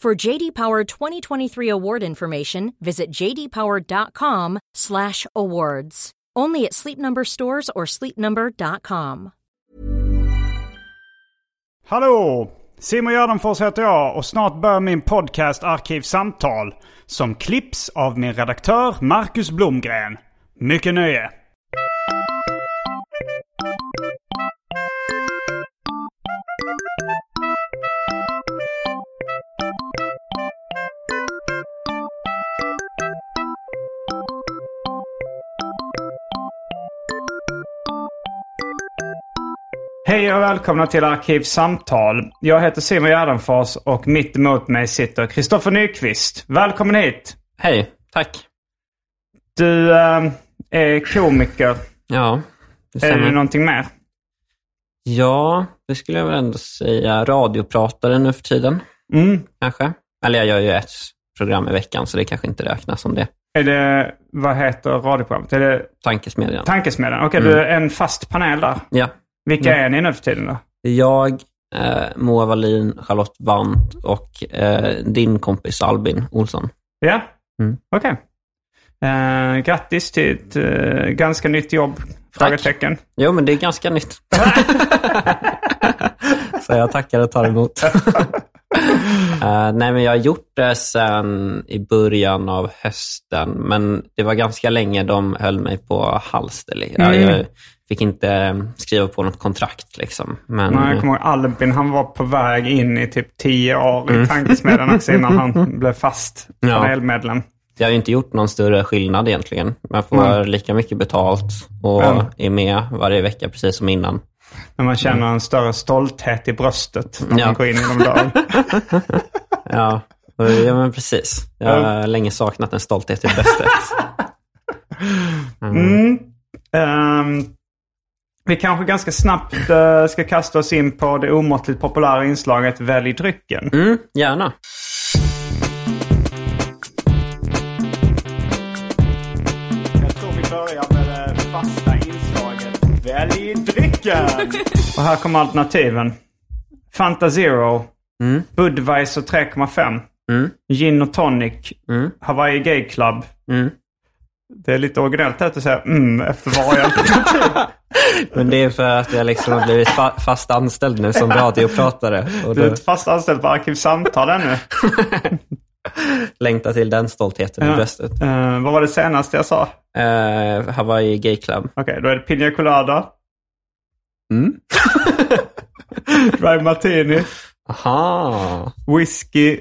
For JD Power 2023 award information, visit jdpower.com/awards. Only at Sleep Number stores or sleepnumber.com. Hallå! Simon Gärdenfors heter jag och snart börjar min podcast Arkivsamtal som klipps av min redaktör Marcus Blomgren. Mycket nöje! Hej och välkomna till Arkivsamtal. Jag heter Simon Gärdenfors och mitt emot mig sitter Kristoffer Nyqvist. Välkommen hit! Hej, tack. Du eh, är komiker. Ja, det Är du stämmer. någonting mer? Ja, det skulle jag väl ändå säga. Radiopratare nu för tiden, Mm. kanske. Eller jag gör ju ett program i veckan, så det kanske inte räknas som det. Är det, vad heter radioprogrammet? Är det Tankesmedjan. Tankesmedjan? Okej, du är en fast panel där. Mm. ja. Vilka är ni nu för tiden då? Jag, eh, Moa Wallin, Charlotte Brandt och eh, din kompis Albin Olsson. Ja, Mm. okej. Eh, grattis till ett eh, ganska nytt jobb? Frågetecken. Jo, men det är ganska nytt. så jag tackar och tar emot. Eh, nej, men jag har gjort det sen i början av hösten, men det var ganska länge de höll mig på halster. Jag, jag fick inte skriva på något kontrakt. Liksom. Men, Nej, jag kommer ihåg Albin, han var på väg in i typ tio år i Tankesmedjan också innan han blev fast Mm. Ja. panelmedlem. Jag har ju inte gjort någon större skillnad egentligen. Man får lika mycket betalt och Mm. är med varje vecka precis som innan. När man känner en större stolthet i bröstet när Mm. Ja. man går in i de där. Ja, och- ja men precis. Jag har länge saknat en stolthet i bröstet. Mm. Ehm, vi kanske ganska snabbt eh, ska kasta oss in på det omåttligt populära inslaget Välj drycken. Mm, gärna. Jag tror vi börjar med det fasta inslaget Välj drycken! Och här kommer alternativen. Fanta Zero, Budweiser 3,5, Gin och Tonic, Hawaii Gay Club. Det är lite originellt att säga mm efter varje alternativ. Men det är för att jag liksom har blivit fa- fast anställd nu som radiopratare och Du är då inte fast anställd på Arkivsamtal ännu. längtar till den stoltheten i Ja. bröstet. Eh, vad var det senaste jag sa? Eh, Hawaii Gay Club. Okej, då är det Pina Colada. Dry Martini. Aha. Whisky,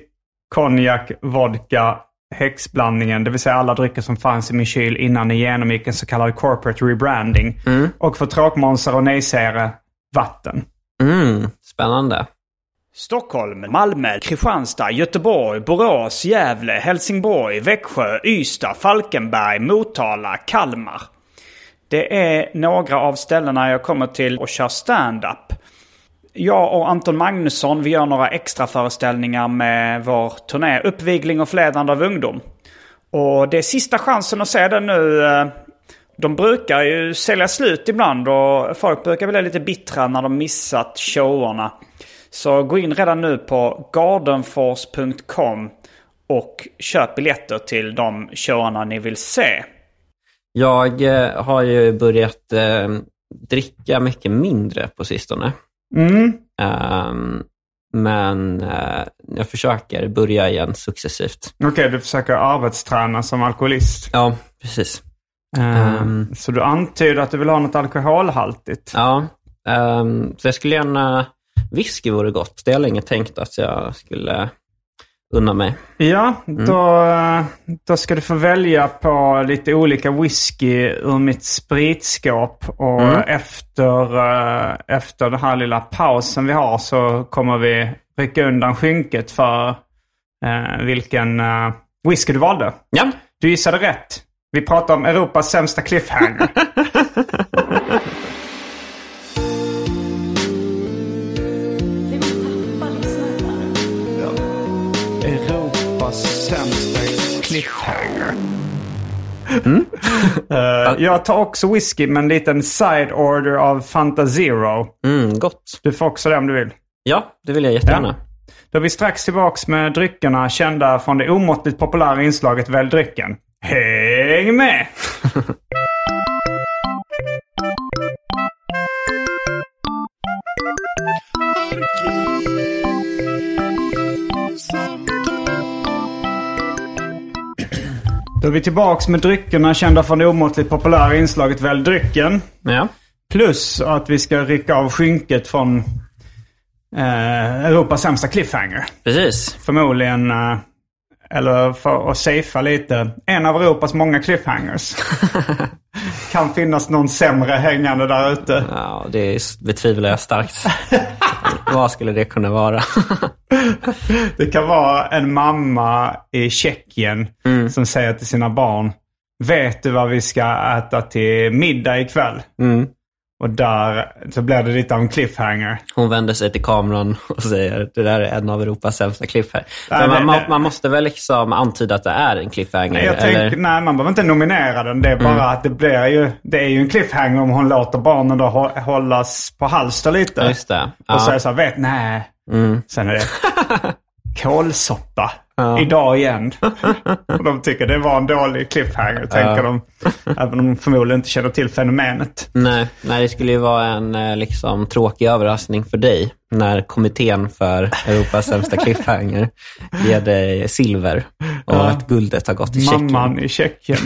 konjak, vodka, häxblandningen. Det vill säga alla drycker som fanns i min kyl innan ni genomgick en så kallad corporate rebranding. Och för tråkmånsar och nejsägare, vatten. Mm, spännande. Stockholm, Malmö, Kristianstad, Göteborg, Borås, Gävle, Helsingborg, Växjö, Ystad, Falkenberg, Motala, Kalmar. Det är några av ställena jag kommer till och kör stand-up. Jag och Anton Magnusson vi gör några extra föreställningar med vår turné Uppvigling och förledande av ungdom. Och det är sista chansen att se den nu. eh, De brukar ju sälja slut ibland och folk brukar bli lite bittra när de missat showerna. Så gå in redan nu på gardenfors.com och köp biljetter till de showarna ni vill se. Jag eh, har ju börjat eh, dricka mycket mindre på sistone. Ehm, Men eh, jag försöker börja igen successivt. Okej, du försöker arbetsträna som alkoholist. Ja, precis. Eh, Ehm. Så du antyder att du vill ha något alkoholhaltigt. Ja, ehm, så jag skulle gärna... Whisky vore gott. Det har jag länge tänkt att jag skulle unna mig. Ja, då, eh, då ska du få välja på lite olika whisky ur mitt spritskåp. Och efter, eh, efter den här lilla pausen vi har så kommer vi rycka undan skynket för eh, vilken eh, whisky du valde. Ja, Du gissade rätt. Vi pratar om Europas sämsta cliffhanger. Europas sämsta cliffhanger. Mm? Eh, jag tar också whisky med en liten side order av Fanta Zero. mm, gott. Du får också det om du vill. Ja, det vill jag jättegärna. Då är vi strax tillbaks med dryckerna kända från det omåttligt populära inslaget Välj drycken. Häng med! Då är vi tillbaks med dryckerna kända från det omåttligt populära inslaget Välj drycken. Ja. Plus att vi ska rycka av skynket från eh, Europas sämsta cliffhanger. precis. Förmodligen, eh, eller för att safea lite, en av Europas många cliffhangers. kan finnas någon sämre hängande där ute. Ja, det s- betvivlar jag starkt. Vad skulle det kunna vara? Det kan vara en mamma i Tjeckien Mm. som säger till sina barn Vet du vad vi ska äta till middag ikväll? Mm. Och där så blir det lite av en cliffhanger. Hon vänder sig till kameran och säger det där är en av Europas sämsta cliffhanger. Nej, Men man, men- man, man måste väl liksom antyda att det är en cliffhanger? Nej, jag eller? Mm. tänk, nej, man behöver inte nominera den. Det är bara att det blir ju... Det är ju en cliffhanger om hon låter barnen då hå- hållas på halster lite. Ja, just det. Och så är Ja. Mm. det så här, vet, nej. Sen är det kålsoppa. Idag igen. Och de tycker det var en dålig cliffhanger, tänker de. Även om de förmodligen inte känner till fenomenet. Nej, nej, det skulle ju vara en eh, liksom, tråkig överraskning för dig när kommittén för Europas sämsta cliffhanger ger dig silver och att guldet har gått till Tjeckien. Mamman i Tjeckien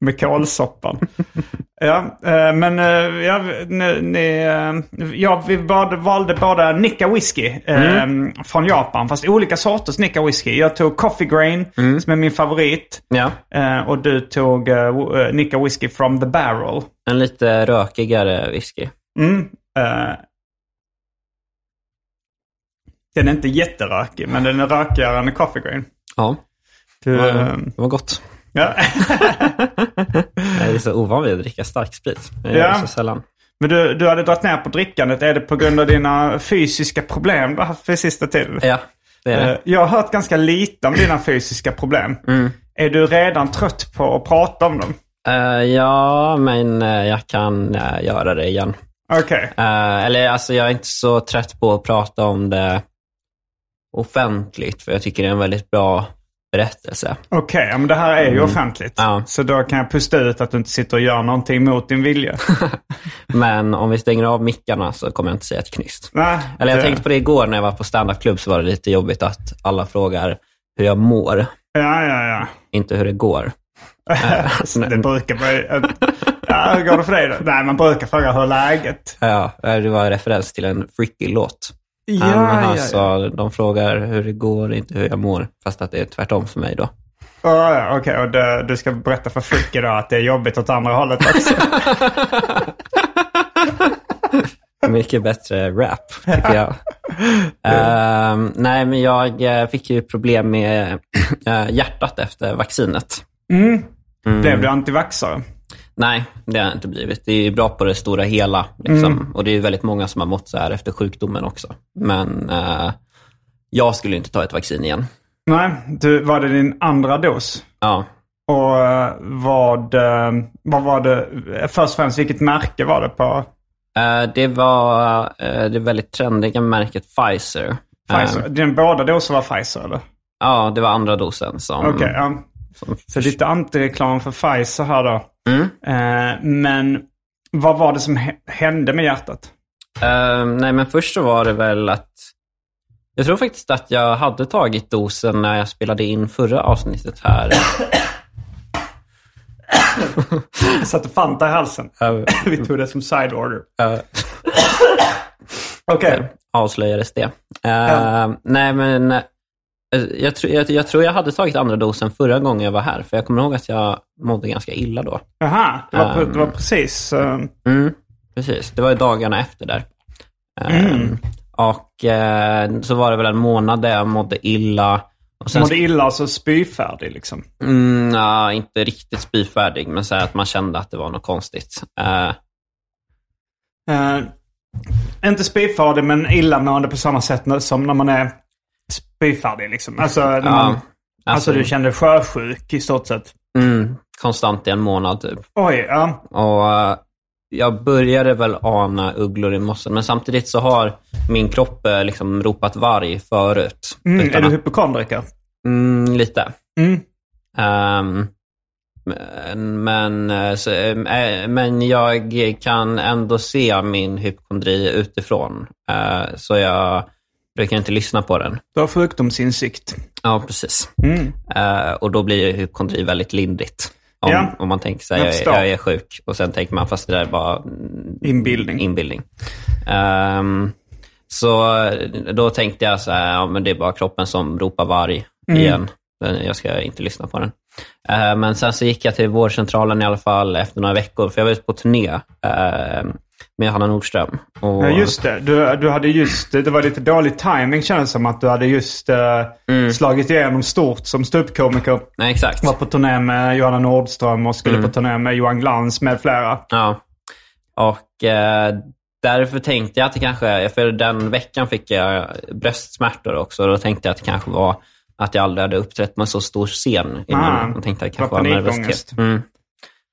med kålsoppan. Ja, eh, men eh, ja, ni, ni, eh, ja, vi bad, valde båda Nikka whisky eh, Mm. från Japan. Fast olika sorters Nikka whisky. Jag tog Coffee Grain Mm. som är min favorit. Ja, Eh, och du tog eh, wo- eh, Nikka whisky from the barrel. en lite rökigare whisky. Mm. Eh, den är inte jätterökig, men den är rökigare än Coffee Grain. Ja, Du, eh, det var gott. ja. Jag är så ovan vid att dricka stark sprit. Jag gör Ja. det så sällan. Men du, du hade dragit ner på drickandet. Är det på grund av dina fysiska problem du har haft för sista tiden? Ja, det är Eh, det. Jag har hört ganska lite om dina fysiska problem. Mm. Är du redan trött på att prata om dem? Eh, ja, men eh, jag kan eh, göra det igen. Okej. Eh, eller alltså, jag är inte så trött på att prata om det offentligt, för jag tycker det är en väldigt bra berättelse. Okej, ja, men det här är ju offentligt. Mm. Ja. Så då kan jag pusta ut att du inte sitter och gör någonting mot din vilja. Men om vi stänger av mickarna så kommer jag inte säga ett knyst. Nej, Eller jag det- tänkte på det igår när jag var på standupklubb så var det lite jobbigt att alla frågar hur jag mår, Ja, ja, ja. inte hur det går. Så det brukar vara... Ja, hur går det för dig då? Nej, man brukar fråga hur är läget? Ja, eh, det var en referens till en freaky-låt. Han, han sa, de frågar hur det går, inte hur jag mår. Fast att det är tvärtom för mig då. Ja, ja, Okej, och det, du ska berätta för Fricke då att det är jobbigt åt andra hållet också. Mycket bättre rap, tycker jag. Ehm, nej, men jag eh, fick ju problem med eh, hjärtat efter vaccinet. Mm. Blev du antivaxare? Nej, det har jag inte blivit. Det är ju bra på det stora hela. Liksom. Och det är ju väldigt många som har mått så här efter sjukdomen också. Men eh, jag skulle inte ta ett vaccin igen. Nej, du, var det din andra dos? Ja, Och eh, vad, eh, vad var det, eh, först och främst vilket märke var det på Eh, det var eh, det väldigt trendiga märket Pfizer. Pfizer? Eh, Din, båda doser var Pfizer eller? ja, det var andra dosen som... Okej, ja. som Mm. Så lite antireklam för Pfizer här då. Eh, men vad var det som hä- hände med hjärtat? Ehm, Eh, nej, men först så var det väl att Jag tror faktiskt att jag hade tagit dosen när jag spelade in förra avsnittet här. Jag satte Fanta i halsen. Ö, Vi tog det som side order. ö, Okej. avslöjades det. Eh, Nej, men eh, jag, tror- jag, jag tror jag hade tagit andra dosen förra gången jag var här, för jag kommer ihåg att jag mådde ganska illa då. Jaha, det var, det var precis... eh, Mm, precis. Det var ju dagarna efter där. Eh, Och eh, så var det väl en månad där jag mådde illa. Och sen mådde illa och så spyfärdig liksom. Mm, ja, inte riktigt spyfärdig, men så här att man kände att det var något konstigt. Eh, Eh, inte spyfärdig men illamående på samma sätt när- som när man är spyfärdig liksom. Alltså, när man, ja, alltså, du kände sjösjuk i stort sett. mm, konstant i en månad typ. Oj, ja. Mm, Och eh, jag började väl ana ugglor i mossen, men samtidigt så har min kropp eh, liksom ropat varg förut. Mm, är utan du att, hypokondriker? mm, lite. Mm. Ehm, men, men, eh, så, eh, men jag kan ändå se min hypokondri utifrån, eh, så jag brukar inte lyssna på den. Du har sjukdomsinsikt. Ja, precis. Mm. Eh, och då blir ju hypokondri väldigt lindrigt. Om, Ja. om man tänker sig Jag jag, förstår. jag, jag är sjuk och sen tänker man fast det där är bara mm, Inbildning. inbildning. Ehm, så då tänkte jag så här, ja, men det är bara kroppen som ropar varg Mm. igen. Men Jag ska inte lyssna på den. Eh, men sen så gick jag till vårdcentralen i alla fall efter några veckor, för jag var ute på turné eh, med Hanna Nordström. Och, Ja, just det. Du, du hade just, det var lite dålig timing kändes som att du hade just eh, slagit igenom stort som ståuppkomiker. Nej, exakt. Var på turné med Johanna Nordström och skulle på turné med Johan Glans med flera. Ja. Och eh, därför tänkte jag att det kanske, för den veckan fick jag bröstsmärtor också, och då tänkte jag att det kanske var att jag aldrig hade uppträtt på en så stor scen innan. Ah, och tänkte att det det var kanske var nervositet. panikångest. Mm.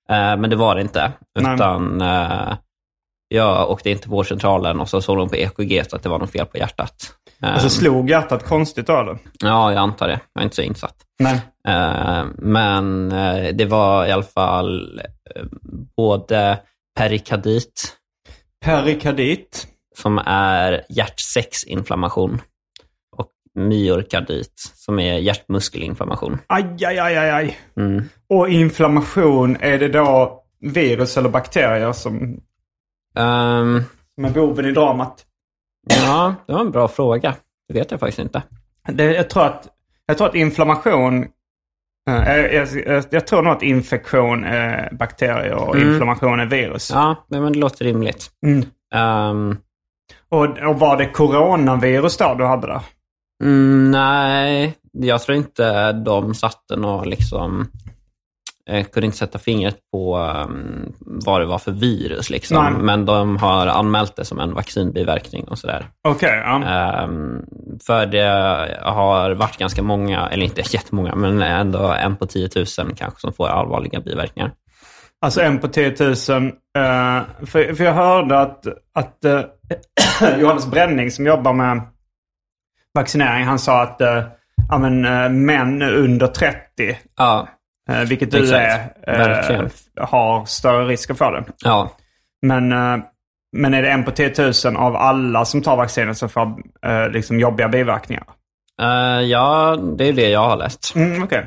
Eh, men det var det inte, Nej. utan eh, jag åkte in till vårdcentralen och så såg de på EKG att det var något fel på hjärtat. Eh, Och så slog hjärtat konstigt av det. ja, jag antar det. Jag är inte så insatt. Nej. Eh, men eh, det var i alla fall eh, både perikardit, Perikardit. som är hjärtsäcksinflammation och myokardit som är hjärtmuskelinflammation. Aj, aj, aj, aj, aj. Och inflammation, är det då virus eller bakterier som, Ehm, som är boven i dramat? ja, det var en bra fråga. Det vet jag faktiskt inte. Det, jag, tror att, jag tror att inflammation... eh, Jag, jag, jag, jag tror nog att infektion är bakterier och inflammation är virus. Ja, nej, men det låter rimligt. Ehm, Och, och var det coronavirus då du hade det? mm, nej, jag tror inte de satte någon liksom... Jag kunde inte sätta fingret på ehm, vad det var för virus, liksom. Nej. men de har anmält det som en vaccinbiverkning och sådär. Okej, ja. Ehm, för det har varit ganska många, eller inte jättemånga, men ändå en på 10 000 kanske som får allvarliga biverkningar. Alltså en på 10 000. eh, för, för jag hörde att, att eh, Johannes Bränning som jobbar med vaccinering, han sa att eh, ja, men, eh, män under 30, Ja, eh, vilket du Exakt. är, eh, Verkligen. har större risk att få det. ja, Men, eh, men är det en på 10 000 av alla som tar vaccinet som får eh, liksom jobbiga biverkningar? Eh, ja det är det jag har läst. Mm, Okej.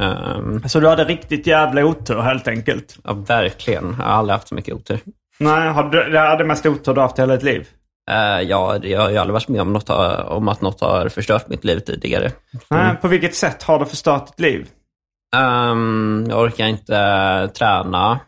Ehm, Så du hade riktigt jävla otur helt enkelt? ja, verkligen. Jag har aldrig haft så mycket otur. Nej, har du, det är det mest otur du har haft i hela ditt liv? Eh, ja, det- jag har ju aldrig varit med om, något, har- om att något har förstört mitt liv tidigare. Nej, på vilket sätt har det förstört ditt liv? Ehm, jag orkar inte träna.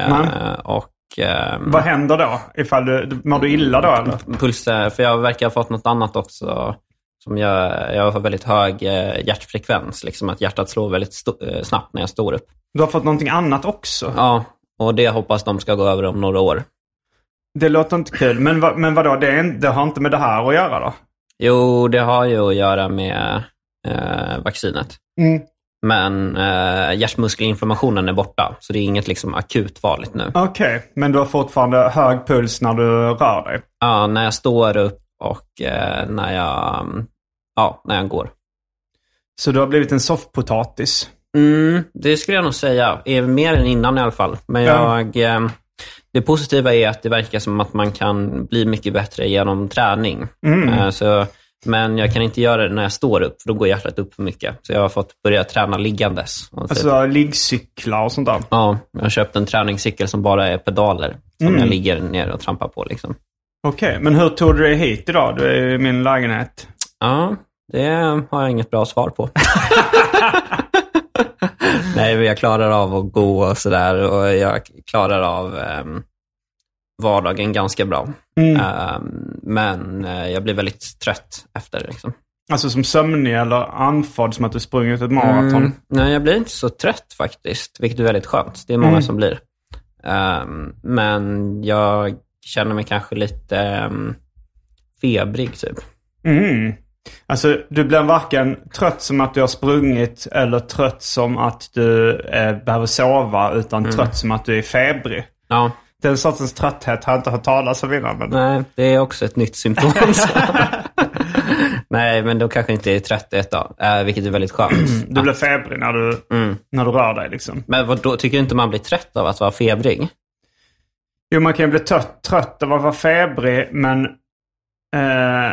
Eh, Nej. och ehm, Vad händer då? Ifall du, mår du illa då eller? pulser, för jag verkar ha fått något annat också. Som jag, jag har väldigt hög eh, hjärtfrekvens, liksom att hjärtat slår väldigt sto- eh, snabbt när jag står upp. Du har fått någonting annat också? Ja, och det hoppas de ska gå över om några år. Det låter inte kul. Men, vad- men vadå, det, är, en- det har inte med det här att göra då? Jo, det har ju att göra med eh, vaccinet. Mm. Men eh, hjärtmuskelinflammationen är borta, så det är inget liksom, akut farligt nu. Okej, men du har fortfarande hög puls när du rör dig? Ja, när jag står upp och eh, när, jag, mm, ja, när jag går. Så du har blivit en soffpotatis? Mm, det skulle jag nog säga. Eh, Mer än innan i alla fall. Men Ja. jag, eh, det Mm. positiva är att det verkar som att man kan bli mycket bättre genom träning. Eh, Så Men jag kan inte göra det när jag står upp, för då går hjärtat upp för mycket. Så jag har fått börja träna liggandes. typ, Alltså liggcyklar och sånt där. Ja, jag har köpt en träningscykel som bara är pedaler som Mm. jag ligger ner och trampar på. Liksom. Okej, men hur tog du dig hit idag? Du är i min lägenhet. Ja, det har jag inget bra svar på. Nej, men jag klarar av att gå och sådär och jag klarar av ehm, vardagen ganska bra. Ehm, men eh, jag blir väldigt trött efter. Liksom. Alltså som sömnig eller andfådd som att du sprungit ett maraton. Mm. Nej, jag blir inte så trött faktiskt, vilket är väldigt skönt. Det är många som blir. Ehm, men jag känner mig kanske lite ehm, febrig, typ. Mm. Alltså du blir varken trött som att du har sprungit eller trött som att du eh, behöver sova utan Mm. trött som att du är febrig. Ja, Den sortens trötthet har jag inte hört talas om innan. Men... nej, det är också ett nytt symptom. nej, men då kanske inte är trötthet då, eh, vilket är väldigt skönt. Du blir febrig när du, Mm. när du rör dig liksom. Men vad då tycker du inte man blir trött av att vara febrig? Jo, man kan ju bli trött, trött av att vara febrig, men... Eh,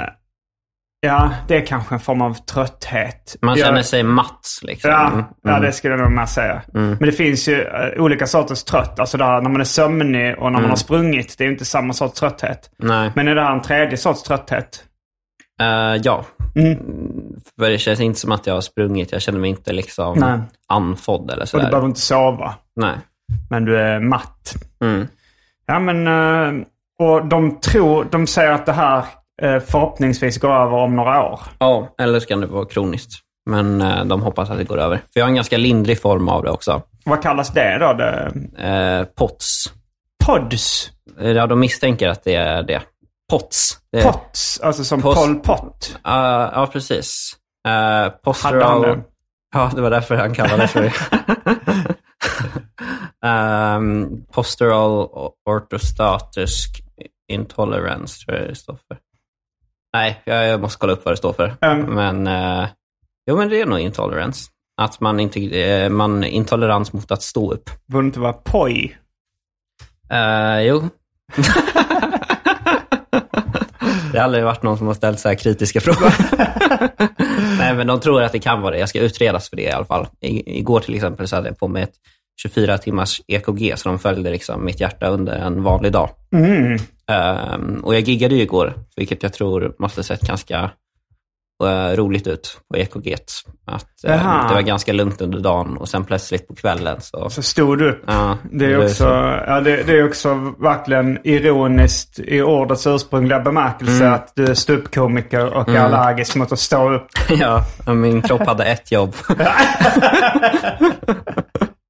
ja, det är kanske en form av trötthet. Man Jag- känner sig matt liksom. Ja, Mm. ja, det skulle jag nog med säga. Men det finns ju eh, olika sorters trött. Alltså där, när man är sömnig och när Mm. man har sprungit. Det är ju inte samma sorts trötthet. Nej. Men är det här en tredje sorts trötthet? Eh, ja. Mm. För det känns inte som att jag har sprungit. Jag känner mig inte liksom Nej. andfådd eller Och du sådär. behöver inte sova, Nej. men du är matt. Mm. Ja, men... eh, och de tror, de säger att det här eh, förhoppningsvis går över om några år. Ja, eller så kan det vara kroniskt. Men eh, de hoppas att det går över. För jag har en ganska lindrig form av det också. Vad kallas det då? Det, Eh, POTS. pods? Eh, Ja, de misstänker att det är det. POTS. Det är, Potts, alltså som Eh. Post- Pol Pot. Ah, ja, precis. Eh, Hade han postural... det? Ja, det var därför han kallades för det. Ehm, postural ortostatisk intolerance tror jag det står för. Nej, jag, jag måste kolla upp vad det står för. Mm. Men, eh, jo, men det är nog intolerance. Att man inte, eh, man intolerans mot att stå upp. Borde inte vara poj? Eh, jo. det har aldrig varit någon som har ställt så här kritiska frågor. Nej, men de tror att det kan vara det. Jag ska utredas för det i alla fall. I, igår till exempel så hade jag på mig ett 24 timmars EKG, så de följde liksom mitt hjärta under en vanlig dag. Mm. Ehm, och jag giggade ju igår, vilket jag tror måste sett ganska eh, roligt ut på EKG. Att eh, Jaha. det var ganska lugnt under dagen och sen plötsligt på kvällen så... Så stod du upp. ja, Det är, blev också, så. ja, det, det är också verkligen ironiskt i ordets ursprungliga bemärkelse att du är ståuppkomiker och är allergisk mot att stå upp. Ja, min kropp hade ett jobb.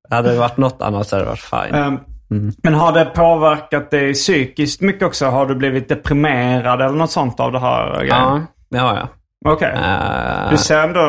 hade det varit något annat så hade det varit fine. Ehm, Men har det påverkat dig psykiskt mycket också? Har du blivit deprimerad eller något sånt av det här? grejen? Ja, det har jag. Okej. Eh, Du ser ändå,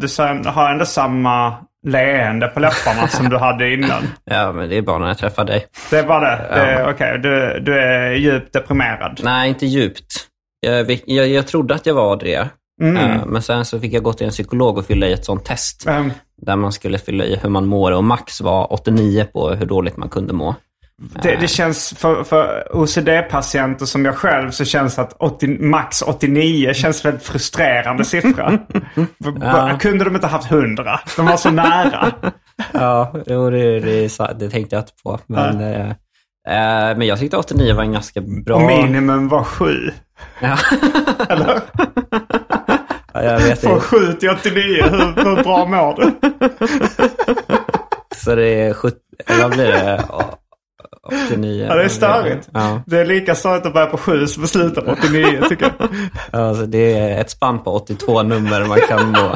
du ser, ändå- har ändå samma leende på läpparna som du hade innan. ja, men det är bara när jag träffar dig. Det är bara det. det är- Okej, du, du är djupt deprimerad. Nej, inte djupt. Jag, vi- jag, jag trodde att jag var det. Eh, men sen så fick jag gå till en psykolog och fylla i ett sånt test. Ehm, Där man skulle fylla i hur man mår och max var 89 på hur dåligt man kunde må. Det, det känns för, för OCD-patienter som jag själv så känns att 80, max 89 känns väldigt frustrerande siffra. För- bara, Kunde de inte haft 100? De var så nära. Ja, jo, det, det, är sa- det tänkte jag inte på. Men, eh, eh, men jag tyckte 89 var en ganska bra... Och minimum var 7. Ja. Eller? Ja, jag vet Från inte. 7 till 89, hur, hur bra mår du? Så det är 70, vad blir det? Å- 89? Ja, det är störigt. Ja, Det är lika störigt att börja på 7 som att sluta på 89 tycker jag. alltså det är ett spann på 82 nummer man kan må.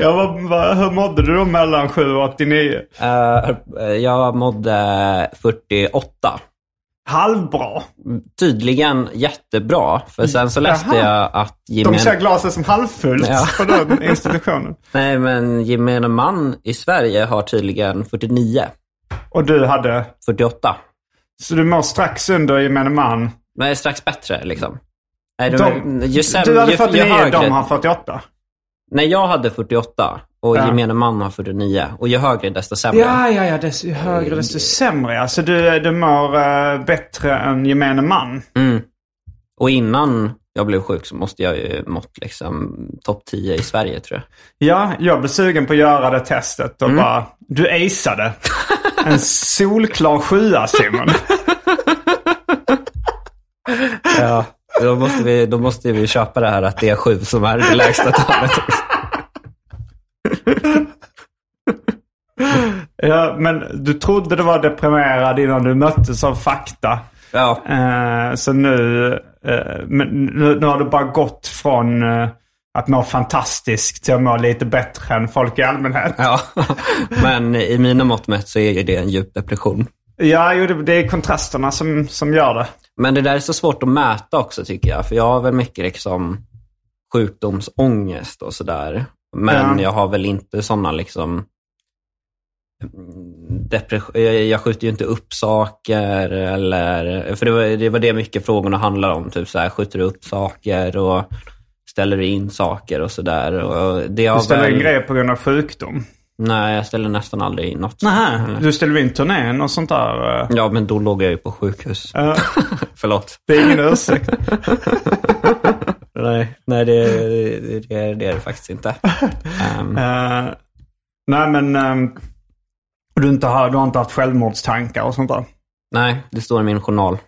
Ja, vad, vad, hur mådde du då mellan 7 och 89? Eh, jag mådde 48. Halvbra. Tydligen jättebra, för sen så läste Jaha. jag att De ser gemene, glaset som halvfullt Ja. på den institutionen. nej, men gemene man i Sverige har tydligen 49, Och du hade? 48. Så du mår strax under gemene man? Men det är strax bättre liksom. Nej, de, De, ju sämre, du hade ju, ju 49, högre, de har 48. Nej, jag hade 48 och Ja. gemene man har 49. Och ju högre desto sämre. Ja, ja, ja. Desto högre, Mm. desto sämre. Alltså du, du mår eh, bättre än gemene man. Mm. Och innan jag blev sjuk så måste jag ju mått liksom topp 10 i Sverige tror jag. Ja, jag blev sugen på att göra det testet Mm. och bara, du aceade. En solklar sjua Simon. Ja, då måste vi, då måste vi köpa det här att det är sju som är det lägsta talet. Ja, men du trodde du var deprimerad innan du möttes av fakta. Ja, Eh, så nu, eh, men nu, nu har du bara gått från eh, att må fantastiskt till att må lite bättre än folk i allmänhet. ja. Men i mina mått mätt så är ju det en djup depression. Ja, jo, det, det är kontrasterna som, som gör det. Men det där är så svårt att mäta också tycker jag. För jag har väl mycket liksom sjukdomsångest och sådär. Men Ja. jag har väl inte sådana liksom mm, depression, jag, jag skjuter ju inte upp saker eller, för det var det, var det mycket frågorna handlade om. Typ så här, skjuter du upp saker och ställer du in saker och sådär. Och det har Du ställer väl, in grejer på grund av sjukdom. Nej, jag ställer nästan aldrig in något. Nähä, du ställer in turnén och sånt där. eh. Ja, men då låg jag ju på sjukhus. Eh, Förlåt. det är ingen ursäkt. Nej, nej det, det, det, det är det faktiskt inte. Ehm, Eh, nej, men ehm, du, inte har, du har inte haft självmordstankar och sånt där. nej, det står i min journal.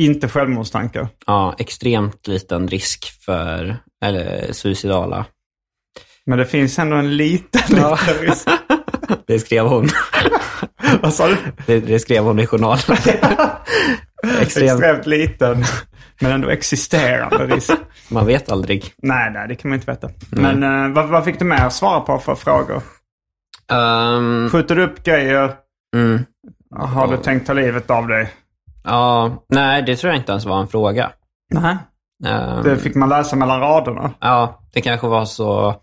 Inte självmordstankar. Ja, extremt liten risk för eller, suicidala. Men det finns ändå en liten, Ja. liten risk. Det skrev hon, Vad sa du? det, det skrev hon i journalen. Extremt. Extremt, liten, men ändå existerande risk. man vet aldrig. nej, nej, det kan man inte veta. Men eh, vad, vad fick du mer att svara på för frågor? Ehm, Skjuter du upp grejer? mm, Har du tänkt ta livet av dig? ja, nej, det tror jag inte ens var en fråga. Nej. Ehm, Det fick man läsa mellan raderna. Ja, det kanske var så,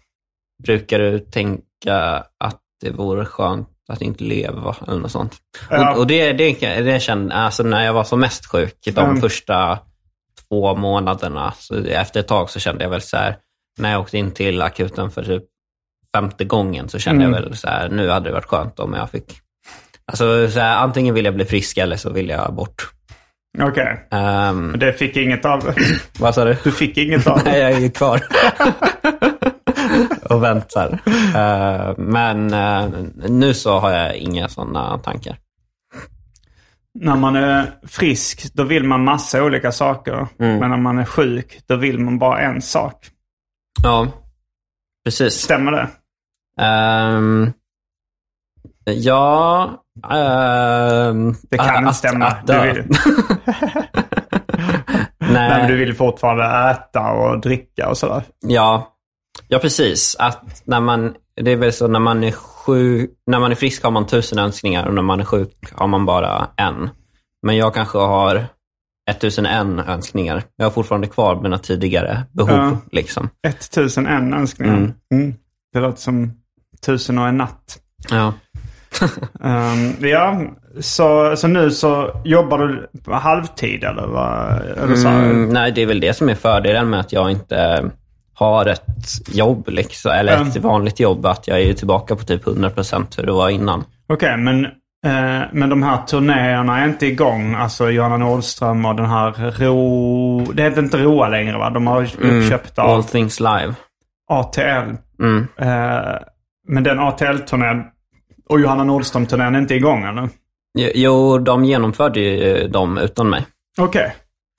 brukar du tänka att det vore skönt att inte leva eller något sånt. Ja. Och, och det, det, det kände, alltså när jag var som mest sjuk, de Mm. första två månaderna, så efter ett tag så kände jag väl så här, när jag åkte in till akuten för typ femte gången så kände Mm. jag väl så här, nu hade det varit skönt om jag fick, alltså så här, antingen vill jag bli frisk eller så vill jag bort. Okej, Ehm, men det fick inget av vad sa du? Du fick inget av Nej, jag är ju kvar. och väntar. Eh, men eh, nu så har jag inga sådana tankar. När man är frisk, då vill man massa olika saker. Mm. Men när man är sjuk, då vill man bara en sak. Ja, precis. Stämmer det? Ehm, ja... ehm, Det kan inte stämma. du, dö. vill, nej, men Nej, du vill fortfarande äta och dricka och sådär. ja. ja, precis. Att när man, det är väl så när man är sjuk, när man är frisk har man tusen önskningar och när man är sjuk har man bara en. Men jag kanske har 1001 önskningar. Jag har fortfarande kvar mina tidigare behov. Ja. Liksom. 1001 önskningar. Mm. Det låter som tusen och en natt. Ja. Ehm, ja, så, så nu så jobbar du på halvtid eller vad? Eller så, Mm, nej, det är väl det som är fördelen med att jag inte har ett jobb, liksom, eller ett vanligt jobb. Att jag är tillbaka på typ 100% hur det var innan. Okej, men, eh, men de här turnéerna är inte igång. Alltså Johanna Nordström och den här Ro... Det heter inte Roa längre va? De har Mm, uppköpt av All things live. ATL. Mm. Eh, men den ATL-turnén och Johanna Nordström-turnén är inte igång eller? Jo, de genomförde ju dem utan mig. Eh, Okej.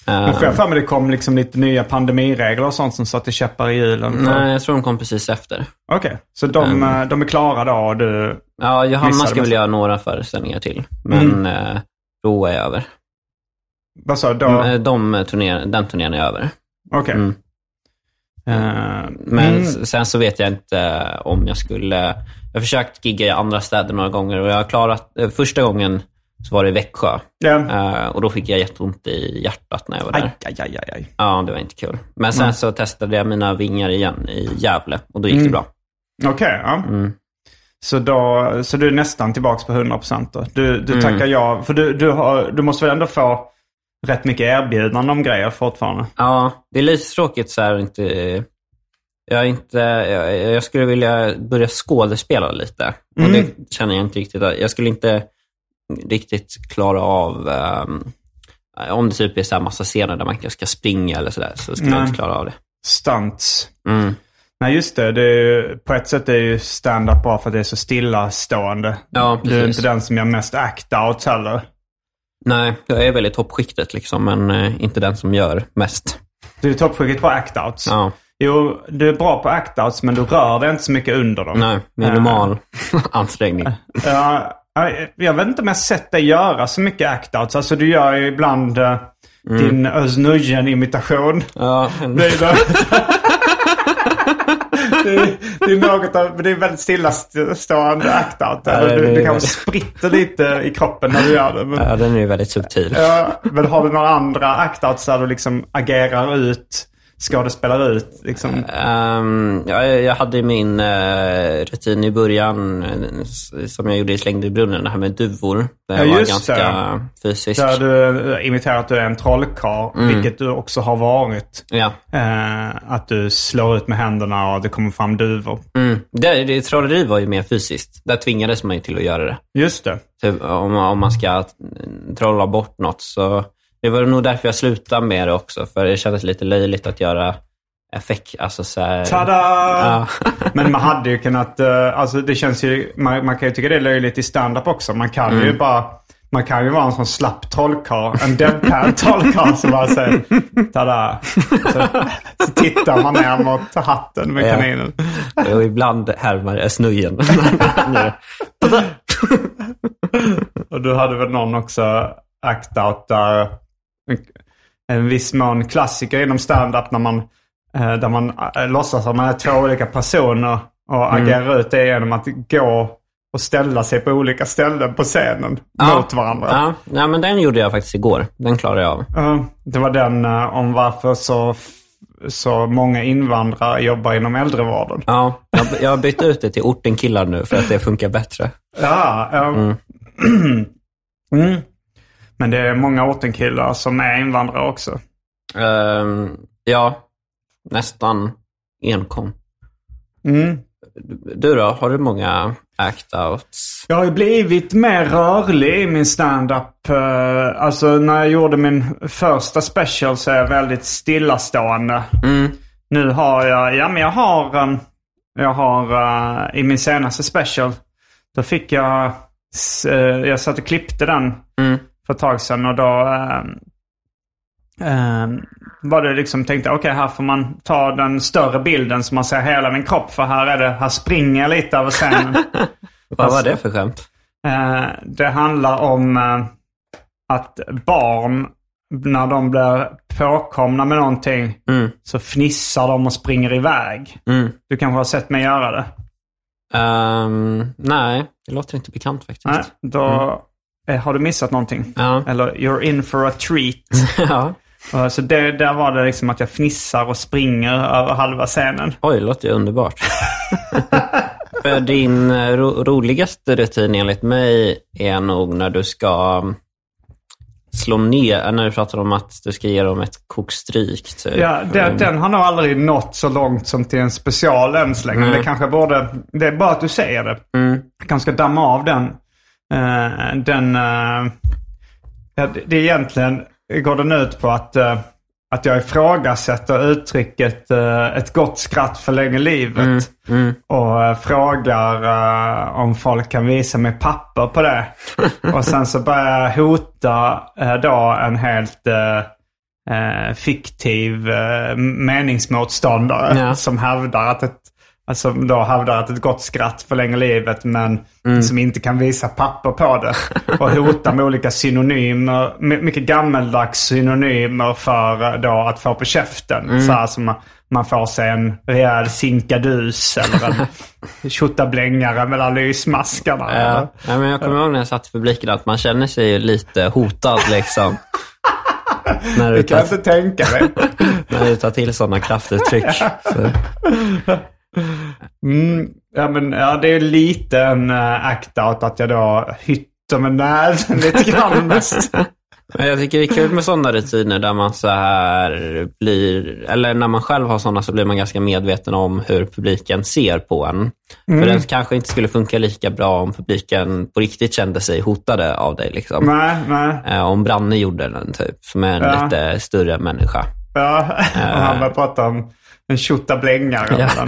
Men får jag för mig det kom liksom lite nya pandemiregler och sånt som satte käppar i hjulen? för- Nej, jag tror de kom precis efter. Okej, så de, eh, de är klara då och du... Ja, Missade Johanna Mm. ska väl massa. göra några föreställningar till, men eh, då är över. Vad sa du? Då- Mm, eh, De turnéer, den turnén är över. Okej. Mm. Eh, Men mm. s- sen så vet jag inte eh, om jag skulle... Jag har försökt gigga i andra städer några gånger och jag har klarat... eh, Första gången så var det i Växjö Ja. eh, och då fick jag jätteont i hjärtat när jag var där. Aj, aj, aj, aj, aj. Ja, det var inte kul. Men sen så testade jag mina vingar igen i Gävle och då gick Mm. det bra. Mm. Okej, ja. Så, då, så du är nästan tillbaka på 100% då? Du, du Mm. tackar ja, för du, du, har, du måste väl ändå få rätt mycket erbjudanden om grejer fortfarande? Ja, det är lite tråkigt så här inte... Jag, är inte, jag, jag skulle vilja börja skådespela lite. Och Mm. det känner jag inte riktigt. att- Jag skulle inte riktigt klara av ehm, Om det typ är så här massa scener där man ska springa eller sådär så skulle jag Nej. inte klara av det. Stunts. Mm. Nej, just det. det är ju, på ett sätt är ju stand-up bra för att det är så stillastående. Ja, du är precis. inte den som gör mest act-out heller. Nej, jag är väl i toppskiktet liksom, men eh, inte den som gör mest. Du är toppskiktet på act-outs. Ja, Jo, du är bra på act-outs men du rör dig inte så mycket under dem. nej, minimal ansträngning. Ja, jag vet inte om jag sett dig göra så mycket act-outs. Alltså du gör ju ibland eh, din Özz imitation Mm. Ja, Det är, då... det, är, det är något av, men det är väldigt stillastående act-out. Ja, det Eller du, är du det. kanske spritter lite i kroppen när du gör det. Men, ja, den är ju väldigt subtil. ja, men har du några andra act-outs där du liksom agerar ut, skådespelar ut? Liksom. Ehm, ja, jag, jag hade ju min eh, rutin i början eh, s- som jag gjorde i Slängd i brunnen, det här med duvor. Där jag Ja, var just ganska det. fysisk. Där du eh, imiterar att du är en trollkarl, Mm. vilket du också har varit. Ja. Eh, att du slår ut med händerna och det kommer fram duvor. Mm. Det, det, trolleri var ju mer fysiskt. Där tvingades man ju till att göra det. Just det. Typ, om, om man ska eh, trolla bort något så... Det var nog därför jag slutade med det också, för det kändes lite löjligt att göra effekt. Alltså så här... Tada! Ja. Men man hade ju kunnat, eh, alltså det känns ju, man, man kan ju tycka det är löjligt i stand-up också. Man kan Mm. ju bara, man kan ju vara en sån slapp trollkarl, en deadpan trollkarl som bara säger tada. Så, så tittar man ner mot hatten med Ja. kaninen. Och ibland härmar jag snöjen. Och du hade väl någon också act-out där, en viss mån klassiker inom stand-up när man, eh, där man eh, låtsas att man är två olika personer och Mm. agerar ut det genom att gå och ställa sig på olika ställen på scenen mot varandra. Ja, ja, men den gjorde jag faktiskt igår. Den klarade jag av. Ja, det var den eh, om varför så, så många invandrare jobbar inom äldrevården. Ja, jag, jag har bytt ut det till ortenkillar nu för att det funkar bättre. Ja, ja. Mm. Men det är många ortenkillar som är invandrare också. Ehm, ja, nästan enkom. Mm. Du då, har du många act-outs? Jag har ju blivit mer rörlig i min stand-up. Eh, Alltså när jag gjorde min första special så är jag väldigt stillastående. Mm. Nu har jag, ja men jag har, eh, jag har eh, i min senaste special, då fick jag, s- eh, jag satt och klippte den Mm. för ett tag sedan och då eh, eh, var det liksom tänkte okej här får man ta den större bilden så man ser hela min kropp för här är det, här springer jag lite över scenen. Vad var det för skämt? Eh, det handlar om eh, att barn, när de blir påkomna med någonting, Mm. så fnissar de och springer iväg. Mm. Du kanske har sett mig göra det? Ehm, nej, det låter inte bekant faktiskt. Nej, då eh, har du missat någonting. Mm. Ja. Eller you're in for a treat. ja. Eh, så det, där var det liksom att jag fnissar och springer över halva scenen. Oj, det låter ju underbart. För din eh, ro- roligaste rutin enligt mig är nog när du ska mm, slå ner, eh, när du pratar om att du ska ge dem ett kokstryk. Typ. Ja, det, Den har nog aldrig nått så långt som till en special än så länge. Men Det kanske borde... Det är bra att du säger det. Mm. Jag kanske ska damma av den. eh, den eh, ja, det- det är egentligen, går den ut på att, eh, att jag ifrågasätter uttrycket eh, ett gott skratt förlänger livet. Och eh, frågar eh, om folk kan visa mig papper på det. och sen så börjar jag hota eh, då en helt eh, eh, fiktiv eh, meningsmotståndare Ja. som hävdar att ett Alltså då hävdar att ett gott skratt förlänger livet men som inte kan visa papper på det. Och hotar med olika synonymer, my- mycket gammeldags synonymer för eh, då att få på käften. Så här som man, man får sig en rejäl sinkadus eller en tjottablängare mellan lysmaskarna. Eh, Ja. Nej, men jag kommer ihåg när jag satt i publiken att man känner sig ju lite hotad liksom. när, du Det kan jag tar, inte tänka mig. när du tar till sådana kraftuttryck. Så. Mm, ja, men, ja, det är eh, lite en uh, act-out att jag då hytter med näven lite grann mest. Men jag tycker det är kul med sådana rutiner där man så här blir, eller när man själv har sådana så blir man ganska medveten om hur publiken ser på en. Mm. För den kanske inte skulle funka lika bra om publiken på riktigt kände sig hotade av dig. Liksom. Nej, nej. Eh, Om Branne gjorde den typ, som är en Ja. lite större människa. Ja, och han började prata om en tjottablänga. Ja. Ja.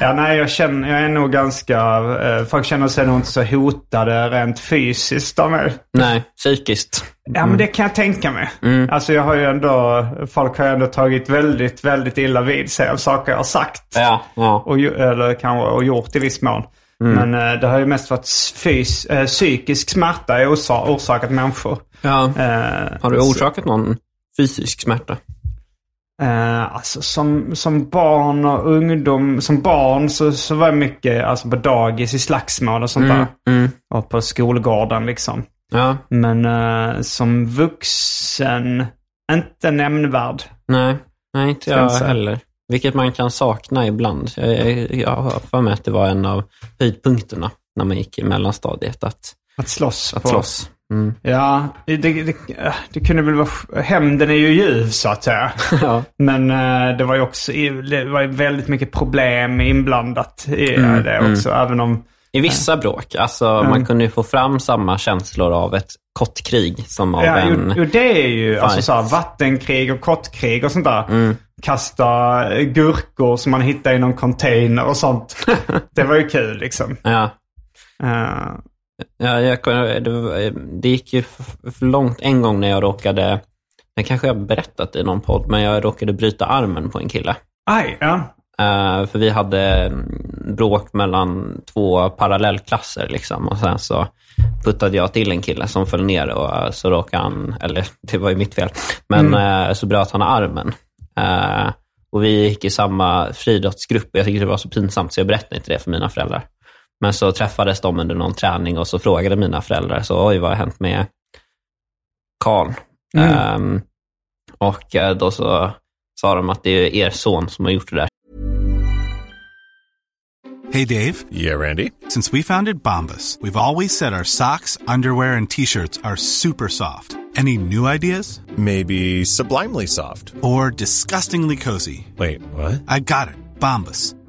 ja, nej, jag känner, jag är nog ganska, eh, folk känner sig nog inte så hotade rent fysiskt av mig. Nej, psykiskt. Ja, men det kan jag tänka mig. Mm. Alltså jag har ju ändå, folk har ju ändå tagit väldigt, väldigt illa vid sig av saker jag har sagt. Ja, ja. Och, ju- eller kanske, och gjort i viss mån. Mm. Men eh, det har ju mest varit fys, eh, psykisk smärta jag orsa, orsakat människor. ja. Eh, Har du orsakat någon fysisk smärta? Eh, alltså som, som barn och ungdom, som barn så, så var jag mycket alltså på dagis i slagsmål och sånt Mm. där. Och på skolgården liksom. Ja, Men eh, som vuxen, inte nämnvärd. nej. Nej, inte jag Sen så- heller. Vilket man kan sakna ibland. Jag, jag, jag har för mig att det var en av höjdpunkterna när man gick i mellanstadiet, att, Att slåss. att på. slåss. Mm. Ja, det, det, eh, det kunde väl vara... Hämnden är ju ljuv så att säga. Ja. Men eh, det var ju också det var ju väldigt mycket problem inblandat i eh, Mm, det också. Även om... I vissa bråk, alltså man kunde ju få fram samma känslor av ett kottkrig som av Ja, en... jo, jo, det är ju alltså, Fight. Mm. så här, vattenkrig och kottkrig och sånt där. Kasta eh, gurkor som man hittar i någon container och sånt. det var ju kul liksom. Ja, Eh, Ja, jag, kunde- det, var- det gick ju för, för långt en gång när jag råkade, det kanske jag har berättat i någon podd, men jag råkade bryta armen på en kille. aj, ja. Eh, för vi hade mm, bråk mellan två parallellklasser liksom och sen så puttade jag till en kille som föll ner och eh, så råkade han, eller det var ju mitt fel, men eh, så bröt han armen. Eh, och vi gick i samma friidrottsgrupp och jag tyckte det var så pinsamt så jag berättade inte det för mina föräldrar. Men så träffades de under någon träning och så frågade mina föräldrar så oj vad har hänt med Karl? Ehm, och eh, då så sa de att det är er son som har gjort det där. Hey Dave, Yeah, Randy. since we founded Bombus, we've always said our socks, underwear, and t shirts are super soft. Any new ideas? Maybe sublimely soft. Or disgustingly cozy? Wait, what? I got it, Bombus.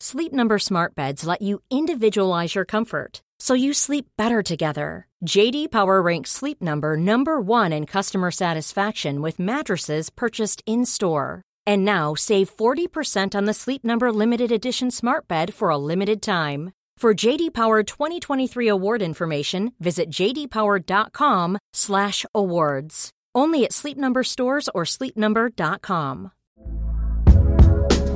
Sleep Number Smart Beds let you individualize your comfort so you sleep better together. JD Power ranks Sleep Number number one in customer satisfaction with mattresses purchased in store. And now save 40% on the Sleep Number Limited Edition Smart Bed for a limited time. For JD Power 2023 award information, visit jdpower.com/awards. Only at Sleep Number stores or sleepnumber.com.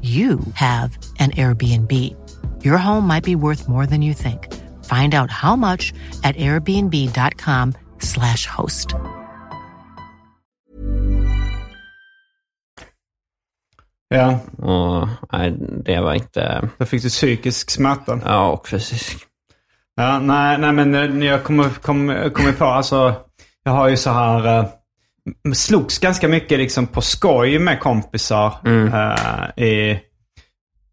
you have an Airbnb. Your home might be worth more than you think. Find out how much at airbnb.com/slash host. Ja, Och, nej, det var inte... då fick du psykisk smärta. Ja, och fysisk. Ja, nej, nej, men eh, jag kommer kom, kom på, alltså, jag har ju så här, eh, m- slogs ganska mycket liksom på skoj med kompisar Mm. eh, i,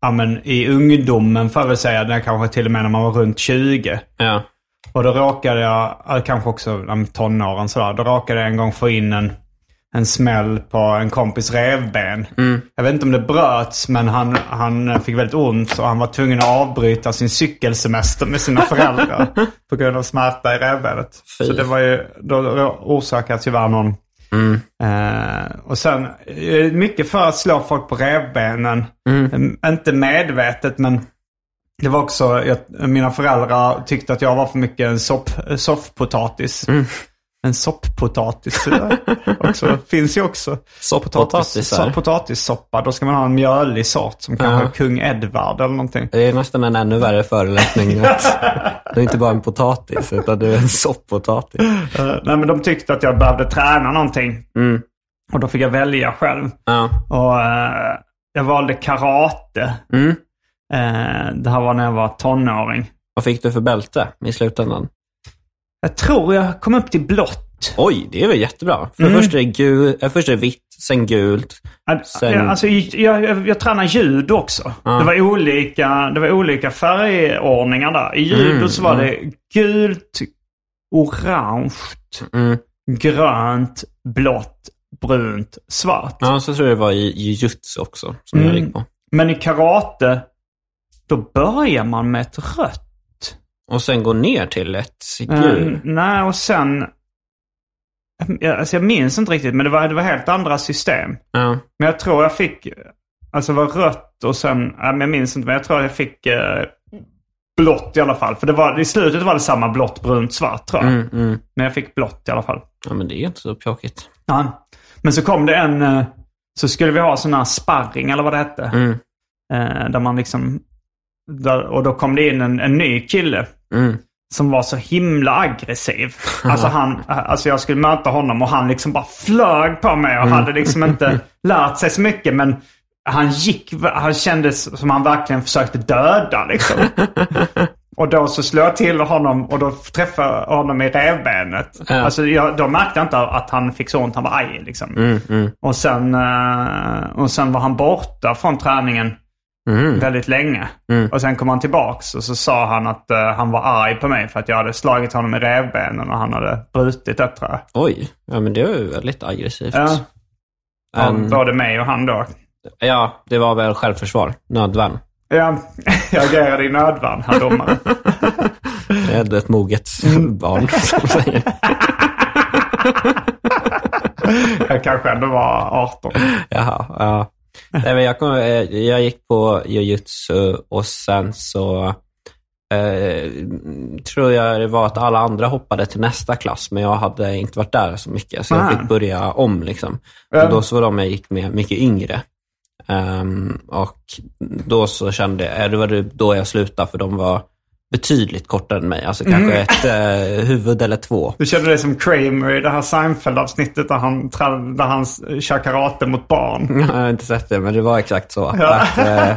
ja, men, i ungdomen får jag väl säga, när kanske till och med när man var runt 20. Ja. Och då råkade jag, ja, kanske också ja, men tonåren sådär, då råkade jag en gång få in en, en smäll på en kompis revben. Jag vet inte om det bröts, men han, han fick väldigt ont och han var tvungen att avbryta sin cykelsemester med sina föräldrar på grund av smärta i revbenet. Fy. Så det var ju, då orsakade tyvärr någon Eh, och sen eh, mycket för att slå folk på revbenen. Eh, Inte medvetet men det var också, jag, mina föräldrar tyckte att jag var för mycket en sopp, soffpotatis. Mm. En sopppotatis eh, också, finns ju också. Sopppotatis, Potatis- där. Potatissoppa, då ska man ha en mjölig sort som kanske kung Edvard eller någonting. Det är nästan en ännu värre förolämpning. att Du är inte bara en potatis, utan du är en sopppotatis. Eh, nej men de tyckte att jag behövde träna någonting. Mm. Och då fick jag välja själv. Ja. Och eh, jag valde karate. Mm. Eh, det här var när jag var tonåring. Vad fick du för bälte i slutändan? Jag tror jag kom upp till blått. Oj, det är väl jättebra. För först, är det gul, eh, först är det vitt, sen gult. Att- Sen- ja, Alltså, jag, jag, jag tränade judo också. Det, var olika, det var olika färgordningar där. I Mm, judo så var det gult, orange, Mm. grönt, blått, brunt, svart. Ja, så tror jag det var i jujutsu också, som jag Mm. gick på. Men i karate, då börjar man med ett rött. Och sen gå ner till ett gul. Mm, nej, och sen... Jag, alltså jag minns inte riktigt, men det var, det var helt andra system. Ja. Men jag tror jag fick... Alltså det var rött och sen... ja, men Jag minns inte, men jag tror jag fick eh, blått i alla fall. För det var, i slutet var det samma blått, brunt, svart tror jag. Mm, mm. Men jag fick blått i alla fall. ja, men det är inte så pjåkigt. Ja. Men så kom det en... eh, Så skulle vi ha sån här sparring eller vad det hette. Mm. Eh, där man liksom... Där, och då kom det in en, en ny kille. Mm. Som var så himla aggressiv. Alltså, han, eh, alltså jag skulle möta honom och han liksom bara flög på mig Mm. och hade liksom inte lärt sig så mycket. Men han gick, han kändes som han verkligen försökte döda liksom. Och då så slår jag till honom och då träffar jag honom i revbenet. Alltså jag, då märkte jag inte att han fick så ont, han var arg liksom. Och, sen, eh, och sen var han borta från träningen väldigt länge. Och sen kom han tillbaks och så sa han att eh, han var arg på mig för att jag hade slagit honom i revbenen och han hade brutit det tror jag. Oj, ja, men det var ju väldigt aggressivt. Ja. Ehm, Både mig och han då. ja, det var väl självförsvar, nödvärn. Ja, jag agerade i nödvärn, herr domare. Det är ett moget barn som säger. Jag kanske ändå var 18. Jaha, ja. Nej, men jag, kom, eh, jag gick på jujutsu och sen så eh, tror jag det var att alla andra hoppade till nästa klass, men jag hade inte varit där så mycket, så jag Ah. fick börja om. Liksom. Och då så var de jag gick med mycket yngre. Ehm, och då så kände jag, eh, det var det- då jag slutade, för de var betydligt kortare än mig. Alltså kanske ett eh, huvud eller två. Du kände dig som Kramer i det här Seinfeld-avsnittet där han, tra- där han s- kör karate mot barn. Jag har inte sett det, men det var exakt så. Att, eh,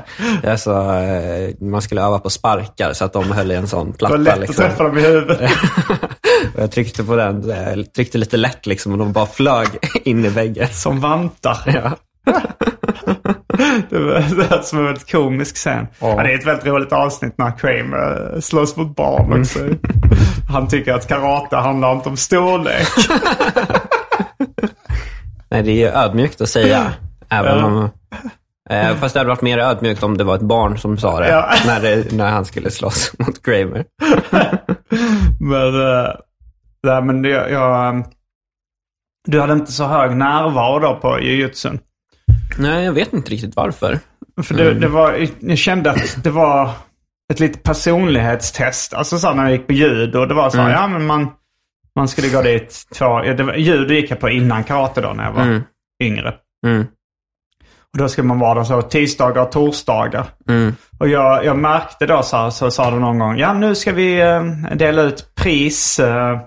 alltså, eh, man skulle öva på sparkar så att de höll i en sån Det var platta. lätt liksom. att träffa dem i huvudet. och jag tryckte på den, eh, tryckte lite lätt liksom, och de bara flög in i väggen. Som vantar. Ja. Det var- det lät som en väldigt komisk scen. Ja. det är ett väldigt roligt avsnitt när Kramer eh, slåss mot Mm. barn också. Han tycker att karate handlar inte om storlek. Nej, det är ju ödmjukt att säga. Även om, eh, fast det hade varit mer ödmjukt om det var ett barn som sa det, Ja. när, det när han skulle slåss mot Kramer. Men, eh, nej, men det, jag, eh, du hade inte så hög närvaro då på jujutsun. Nej, jag vet inte riktigt varför. För det, det var, jag kände att det var ett litet personlighetstest. Alltså så här när jag gick på judo, det var så här, ja men man, man skulle gå dit två, ja, det var, judo gick jag på innan karate då när jag var yngre. Mm. Och då skulle man vara där så tisdagar och torsdagar. Och jag, jag märkte då så här, så sa de någon gång, ja nu ska vi eh, dela ut pris, eh,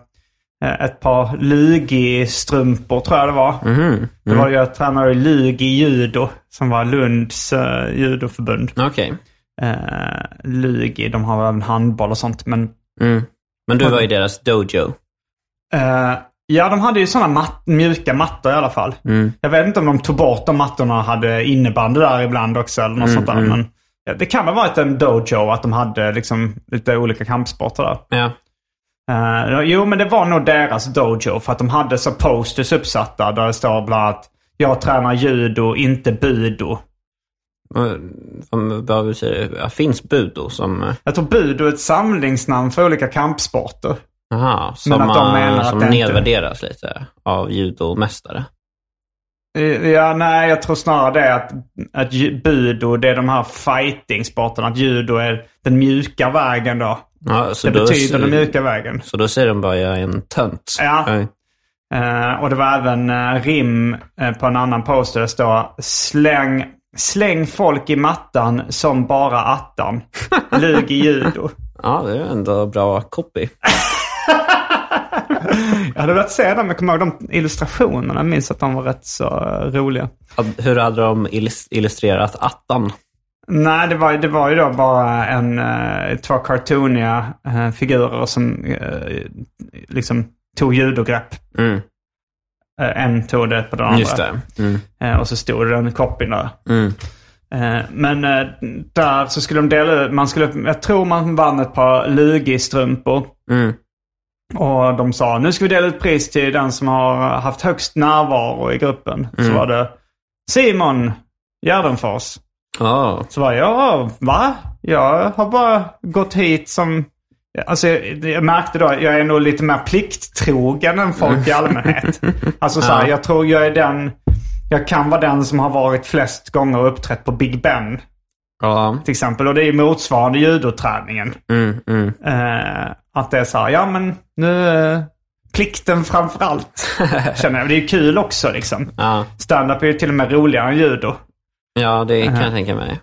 ett par Lugi-strumpor tror jag det var. Mm. Mhm. Det var ju jag tränade i Lugi judo, som var Lunds eh, judoförbund. Okej. Eh, Lugi, de har även handboll och sånt. Men Mm. Men du var i deras dojo. eh, ja, de hade ju sådana mat- mjuka mattor i alla fall. Jag vet inte om de tog bort de mattorna och hade innebandy där ibland också eller något sånt där. Men ja, det kan ha varit en dojo, att de hade liksom lite olika kampsporter där. Ja. Eh, jo, men det var nog deras dojo för att de hade så posters uppsatta där det står bland annat jag tränar judo, inte budo. Vad- Vad säger du? Ja, Finns budo som... eh, Jag tror budo är ett samlingsnamn för olika kampsporter. Aha, som, Men att de eh, menar att som det inte- nedvärderas lite av judomästare. Eh, Ja, nej, jag tror snarare det att, att ju- budo, det är de här fighting-sporterna. Att judo är den mjuka vägen då. Ja, så det då- betyder den mjuka vägen. Så då säger de bara jag är en tönt. Ja. Oj. Eh, och det var även eh, rim eh, på en annan poster. Det står släng, släng folk i mattan som bara attan. Lug i judo. Ja, det är ändå bra copy. Jag hade velat se dem. Jag kommer ihåg de illustrationerna. Jag minns att de var rätt så eh, roliga. Had- Hur hade de illus- illustrerat attan? Nej, det var, det var ju då bara en, eh, två cartooniga eh, figurer som eh, liksom tog judogrepp. Mm, Eh, en tog det på den andra. just det. Mm, Eh, och så stod det den copyn där. mm. Eh, men eh, där så skulle de dela ut, man skulle, jag tror man vann ett par lugistrumpor. Mm. Och de sa nu ska vi dela ut pris till den som har haft högst närvaro i gruppen. Mm. Så var det Simon Gärdenfors. Ja, Så var jag, "Ja, va? Jag har bara gått hit som... Alltså jag, jag märkte då, att jag är nog lite mer plikttrogen än folk i allmänhet. Alltså så här, jag tror jag är den... Jag kan vara den som har varit flest gånger och uppträtt på Big Ben. ja. Till exempel. Och det är ju motsvarande judoträningen. Mm, mm. Eh, att det är så här, ja men nu... Eh, plikten framför allt. Känner jag. Det är ju kul också liksom. Ja. Stand-up är ju till och med roligare än judo. ja, det kan jag tänka mig.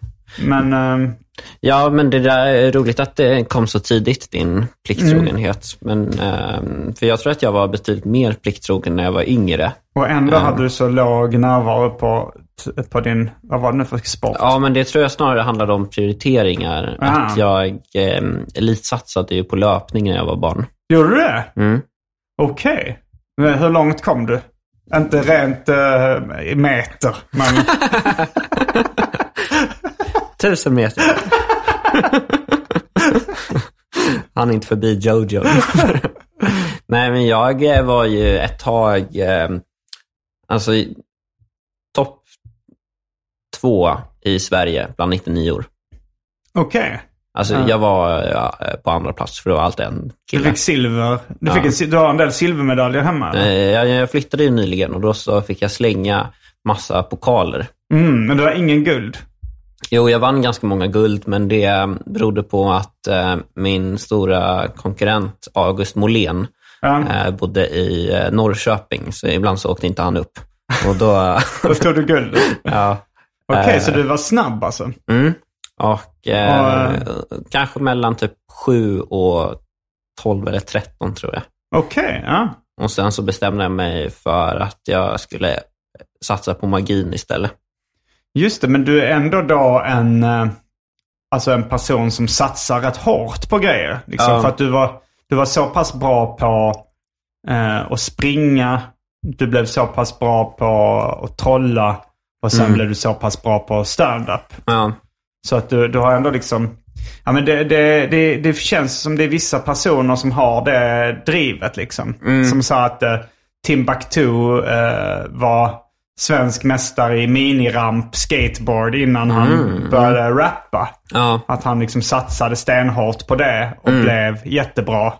Men... ehm, Ja, men det där är roligt att det kom så tidigt, din plikttrogenhet. Mm. Men, ehm, för jag tror att jag var betydligt mer plikttrogen när jag var yngre. Och ändå hade du så låg närvaro på, på din, vad var det nu för sport? Ja, men det tror jag snarare handlade om prioriteringar. Aha. Att jag um, elitsatsade ju på löpning när jag var barn. Gjorde du det? Mm. Okej. Men hur långt kom du? Inte rent eh, i meter, men Tusen meter. Han är inte förbi Jojo. Nej, men jag eh, var ju ett tag, eh, alltså i- topp två i Sverige bland 99 år. okej. Alltså jag var ja, eh, på andra plats för det var alltid en Du kille. fick silver. Du, fick en, si- du har en del silvermedaljer hemma? Eh, eller? Jag, jag flyttade ju nyligen och då så fick jag slänga massa pokaler. Mm, men du har ingen guld? Jo, jag vann ganska många guld, men det eh, berodde på att eh, min stora konkurrent August Molén Ja. eh, bodde i eh, Norrköping, så ibland så åkte inte han upp. Och då, Då tog du guld? Okej, ja, så du var snabb alltså? mm, och Ja, eh, eh. kanske mellan typ 7 och 12 eller 13 tror jag. Okej, ja. Och sen så bestämde jag mig för att jag skulle eh, satsa på magin istället. Just det, men du är ändå då en, eh, alltså en person som satsar rätt hårt på grejer. Liksom, Ja. För att du var, du var så pass bra på eh, att springa, du blev så pass bra på att trolla och sen blev du så pass bra på stand-up. Ja, Så att du, du har ändå liksom... Ja, men det, det, det, det känns som det är vissa personer som har det drivet liksom. Som sa att eh, Timbuktu eh, var svensk mästare i miniramp, skateboard innan han började rappa. ja, Att han liksom satsade stenhårt på det och blev jättebra.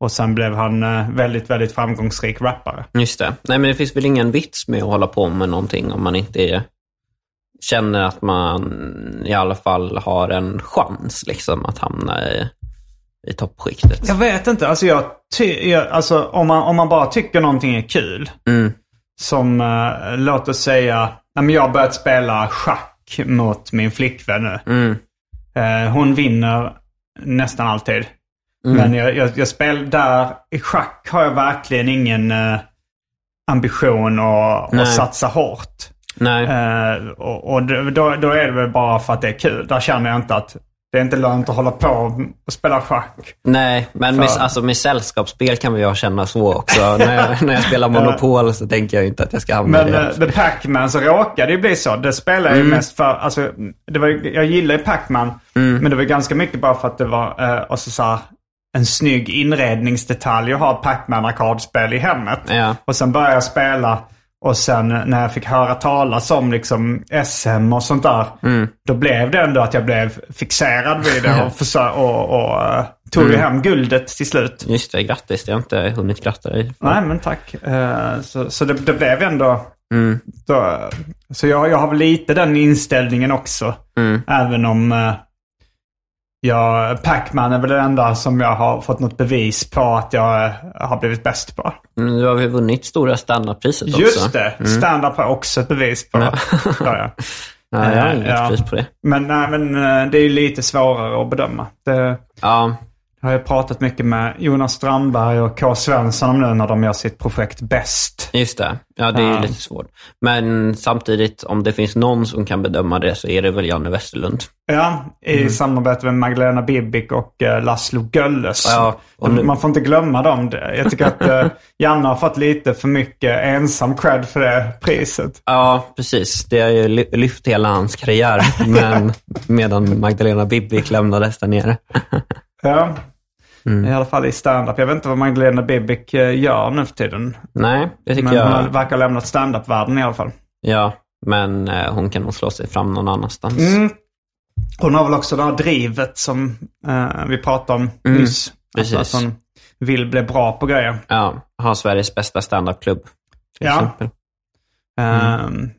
Och sen blev han eh, väldigt, väldigt framgångsrik rappare. just det. Nej, men det finns väl ingen vits med att hålla på med någonting om man inte är, känner att man i alla fall har en chans liksom, att hamna i, i toppskiktet. Jag vet inte. Alltså, jag ty- jag, alltså om, man, om man bara tycker någonting är kul. Mm. Som, eh, låt oss säga, ja, men jag har börjat spela schack mot min flickvän nu. Mm. Eh, hon vinner nästan alltid. Mm. Men jag, jag, jag spel där, i schack har jag verkligen ingen eh, ambition att, Nej. att satsa hårt. Nej. Eh, och och då, då då är det väl bara för att det är kul. Där känner jag inte att det är inte lönt att hålla på och spela schack. Nej, men med, alltså, med sällskapsspel kan väl jag känna så också. när, jag, när jag spelar Monopol så tänker jag inte att jag ska hamna i Eh. Men det. eh, The Pac-Man så råkade ju bli så. Det spelar jag ju mest för, alltså, det var, ju- jag gillar ju Pac-Man. Men det var ganska mycket bara för att det var, eh, alltså, så här, en snygg inredningsdetalj att ha Pac-Man-arkadspel i hemmet. Ja. Och sen började jag spela. Och sen när jag fick höra talas om liksom SM och sånt där. Då blev det ändå att jag blev fixerad vid det och, försö- och, och eh, Tog ju hem guldet till slut. Just det, grattis. Det har jag inte hunnit gratta dig. för. Nej, men tack. Eh, Så, så det, det blev ändå... Då, så jag, jag har väl lite den inställningen också. Även om eh, jag, Pac-Man är väl det enda som jag har fått något bevis på att jag eh, har blivit bäst på. Men du har väl vunnit stora standardpriset också? Just det! Stand-up har jag också ett bevis på. Ja, ja. Nej, jag har Eh, inget ja. pris på det. Men, nej, men eh, det är ju lite svårare att bedöma. Det Ja, har jag pratat mycket med Jonas Strandberg och K. Svensson om nu när de gör sitt projekt Bäst. just det. Ja, det är ju Ja. lite svårt. Men samtidigt, om det finns någon som kan bedöma det så är det väl Janne Westerlund. Ja, i Mm. samarbete med Magdalena Bibic och eh, Laszlo Gölles. Ja, och nu- Man får inte glömma dem. Jag tycker att eh, Janne har fått lite för mycket ensam cred för det priset. Ja, precis. Det har ju ly- lyft hela hans karriär, men medan Magdalena Bibic lämnades där nere. Ja, Mm. i alla fall i stand-up. Jag vet inte vad Magdalena Bibic eh, gör nu för tiden. Nej, det tycker Men hon har- jag. verkar ha lämnat stand-up-världen i alla fall. Ja, men eh, hon kan nog slå sig fram någon annanstans. Mm. Hon har väl också det här drivet som eh, vi pratade om nyss. Mm. precis. Alltså att hon vill bli bra på grejer. Ja, ha Sveriges bästa standupklubb. till Ja. exempel. Ehm,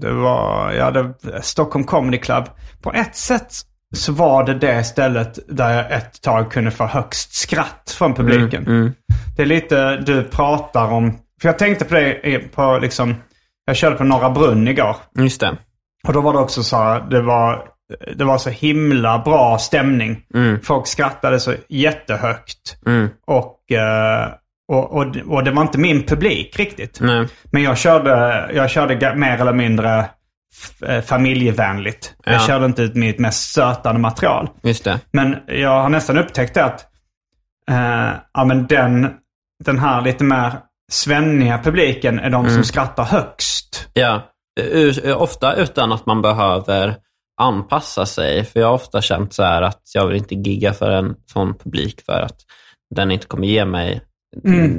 det var, ja, det, Stockholm Comedy Club. På ett sätt så var det det stället där jag ett tag kunde få högst skratt från publiken. Det är lite du pratar om, för jag tänkte på det i- på liksom, jag körde på Norra Brunn igår. Just det. Och då var det också så här, det var, det var så himla bra stämning. Folk skrattade så jättehögt. Och, eh, och, och, och det var inte min publik riktigt. Nej. Men jag körde, jag körde ga- mer eller mindre f- eh, familjevänligt. Ja. Jag körde inte ut mitt mest stötande material. Just det. Men jag har nästan upptäckt det att eh, ja, men den, den här lite mer svenniga publiken är de Mm. som skrattar högst. Ja. U- Ofta utan att man behöver anpassa sig. För jag har ofta känt så här att jag vill inte gigga för en sån publik för att den inte kommer ge mig...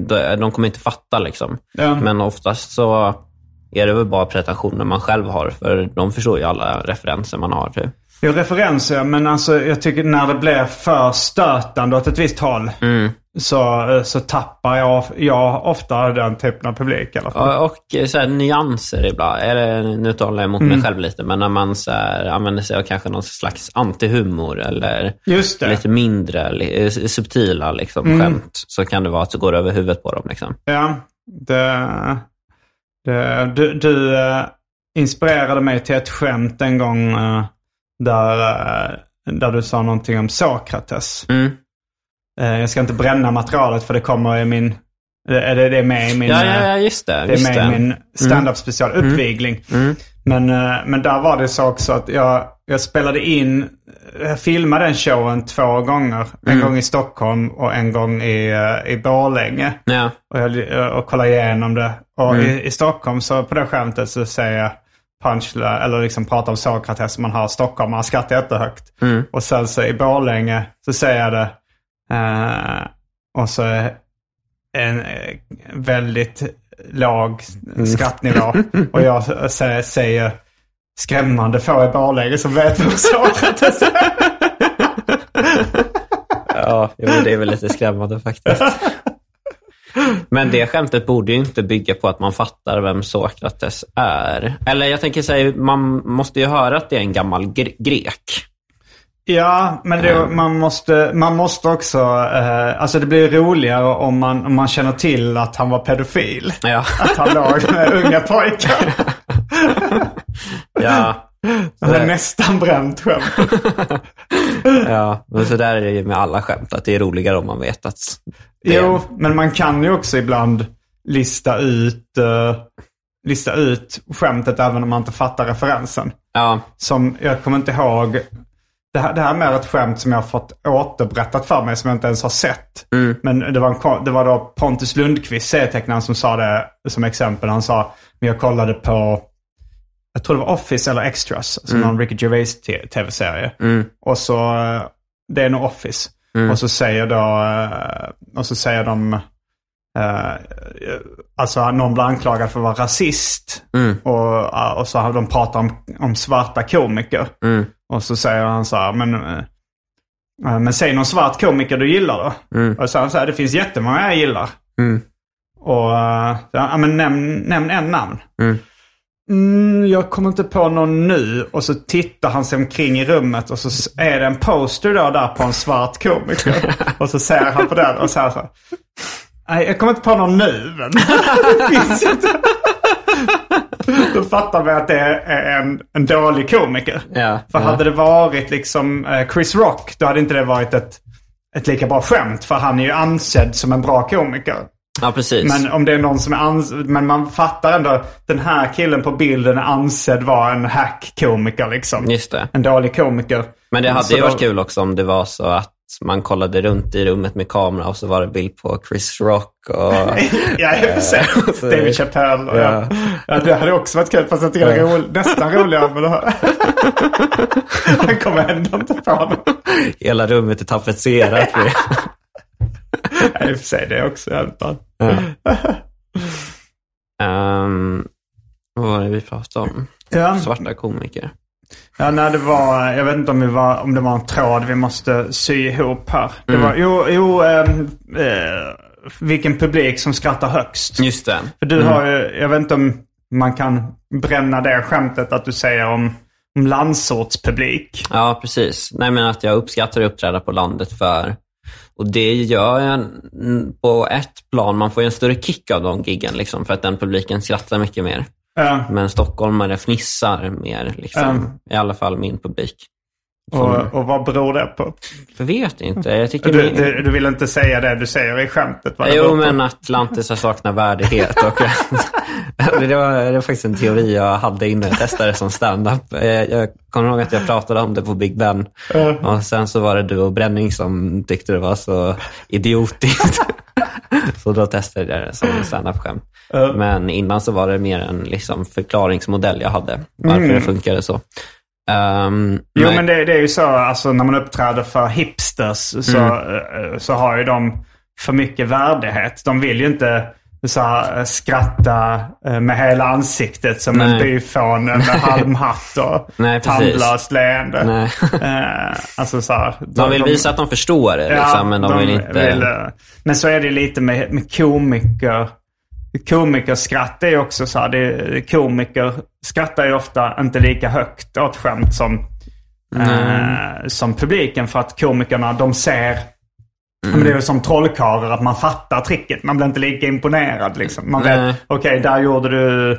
De, de kommer inte fatta liksom. Ja. Men oftast så är det väl bara pretensioner man själv har. För de förstår ju alla referenser man har. Typ. Jag referenser, men alltså jag tycker när det blir för stötande åt ett visst håll Mm. så, eh, så tappar jag, jag ofta den typen av publik i alla fall. Ja, Och eh, så här, nyanser ibland. Eller, nu talar jag emot mig själv lite, men när man så här, använder sig av kanske någon slags antihumor eller Just det. lite mindre li- eh, subtila liksom, skämt så kan det vara att det går över huvudet på dem. Liksom. Ja, det, det, du, du eh, inspirerade mig till ett skämt en gång eh, där, eh, där du sa någonting om Sokrates. Mm. Eh, jag ska inte bränna materialet för det kommer i min... Är det, det är med i min... Ja, eh, ja, ja, just det. Det just är med det. Mm. i min stand-up special, Uppvigling. Men, eh, men där var det så också att jag, jag spelade in, jag filmade den showen två gånger. Mm. En gång i Stockholm och en gång i, eh, i Borlänge. Ja. Och, jag, och kollade igenom det. Och i, i Stockholm, så på det skämtet så säger jag punchline, eller liksom pratar om Sokrates som man har i Stockholm. Man skrattar jättehögt. Och sen så i Borlänge så säger jag det. eh, och så en eh, väldigt låg skrattnivå. Och jag s- s- säger skrämmande få i Borlänge som vet vad Sokrates är. Ja, jo, men det är väl lite skrämmande faktiskt. Men det skämtet borde ju inte bygga på att man fattar vem Sokrates är. Eller jag tänker säga, man måste ju höra att det är en gammal gre- grek. Ja, men det, man, måste, man måste också... Eh, alltså det blir roligare om man, om man känner till att han var pedofil. Ja, Att han låg med unga pojkar. ja, Det är nästan bränt skämt. ja. Men så där är det ju med alla skämt, att det är roligare om man vet att... Det är, Jo, men man kan ju också ibland lista ut, eh, lista ut skämtet även om man inte fattar referensen. Ja, Som jag kommer inte ihåg. Det här, det här är mer ett skämt som jag har fått återberättat för mig som jag inte ens har sett. Men det var, en, ko- det var då Pontus Lundqvist, serietecknaren, som sa det som exempel. Han sa, men jag kollade på, jag tror det var Office eller Extras, som var en Ricky Gervais te- tv-serie. Och så, eh, det är nog Office. Och så säger då, eh, och så säger de, eh, alltså någon blir anklagad för att vara rasist. Och, och så har de pratat om, om svarta komiker. Och så säger han så här, men eh, Eh, Men säg någon svart komiker du gillar då. Och så är han så här, det finns jättemånga jag gillar. Och eh, ja, men nämn, nämn en namn. Mm, jag kommer inte på någon nu. Och så tittar han sig omkring i rummet och så s- är det en poster då där på en svart komiker. och så ser han på den och säger så här. Nej, jag kommer inte på någon nu. Men det finns inte. Då fattar man att det är en, en dålig komiker. Ja, för ja. hade det varit liksom eh, Chris Rock, då hade inte det varit ett, ett lika bra skämt. För han är ju ansedd som en bra komiker. Ja, precis. Men om det är någon som är ans- Men man fattar ändå. Den här killen på bilden är ansedd vara en hack-komiker liksom. Just det. En dålig komiker. Men det hade Mm, Så ju då- varit kul också om det var så att man kollade runt i rummet med kamera och så var det bild på Chris Rock och... Ja, jag får se. så- David Chappelle och ja. ja. Det hade också varit kul fast jag tycker det är roligt. Nästan roligare med det här. Han kommer ändå inte på det. Hela rummet är tapetserat med... Ja, i och för sig det är också jävligt bra. Ehm, vad var det vi pratade om? Ja. Svarta komiker. Ja, nej, det var, jag vet inte om, vi var, om det var en tråd vi måste sy ihop här. Det var, jo, jo ehm, eh, vilken publik som skrattar högst. Just det. För du har ju, jag vet inte om man kan bränna det skämtet att du säger om, om landsortspublik. Ja, precis. Nej, men att jag uppskattar att uppträda på landet för... Och det gör jag n- på ett plan. Man får ju en större kick av de giggen, liksom, för att den publiken skrattar mycket mer. Ja, Men stockholmare fnissar mer, liksom. Mm. I alla fall min publik. och, och vad beror det på? Jag vet inte. Jag tycker... Du, min- du, du vill inte säga det du säger i skämtet? vad det beror Jo, på. men atlantisar saknar värdighet. Och det, var, det var faktiskt en teori jag hade innan jag testade som stand-up. Eh, Jag kommer ihåg att jag pratade om det på Big Ben. Och sen så var det du och Bränning som tyckte det var så idiotiskt. Så då testade jag det som en stand-up-skämt. Men innan så var det mer en liksom förklaringsmodell jag hade, varför det funkade så. Ehm, Mm. Jo, men- men det, det är ju så, alltså när man uppträder för hipsters så, Mm. eh, så har ju de för mycket värdighet. De vill ju inte så här, eh, skratta eh, med hela ansiktet som en Nej. byfåne med halmhatt och Nej, precis. tandlöst leende. Nej. Eh, alltså så här, De vill visa att de förstår det, Ja, liksom, men de, vill inte... vill, eh, men så är det lite med, med komiker. Komikerskratt är ju också så här. Det, komiker skrattar ju ofta inte lika högt åt skämt som, eh, som publiken. För att komikerna, de ser... Men det är ju som trollkarlar, att man fattar tricket. Man blir inte lika imponerad. Liksom. Man Nej. vet, okej, där gjorde du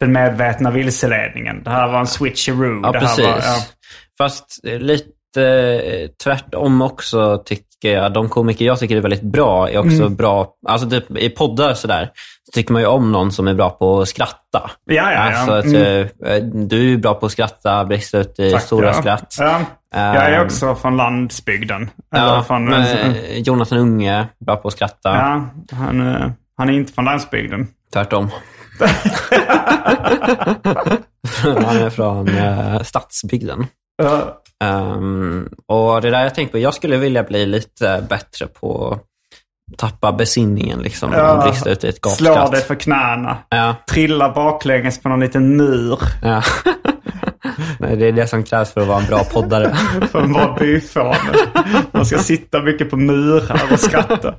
den medvetna vilseledningen. Det här var en switcheroo. Ja, det här precis. Var, ja. Fast eh, lite eh, tvärtom också tycker jag. De komiker jag tycker är väldigt bra är också Mm. bra, alltså typ i poddar sådär, så tycker man ju om någon som är bra på att skratta. Ja, ja, ja. Alltså, att, Mm. eh, du är ju bra på att skratta, brista ut i Tack, stora ja. skratt. Ja. Jag är Ehm, också från landsbygden. Eller Ja, från, men, eh, Jonathan Unge, bra på att skratta. ja, han, eh, han är inte från landsbygden. Tvärtom. Han är från eh, stadsbygden. Ehm, och det där jag tänker på, jag skulle vilja bli lite bättre på att tappa besinningen liksom. och brista ut i ett Slår dig gapskratt. för knäna. Ja, Trillar baklänges på någon liten mur. ja. Nej, det är det som krävs för att vara en bra poddare. För en bra byfåne. Man ska sitta mycket på murar och skratta.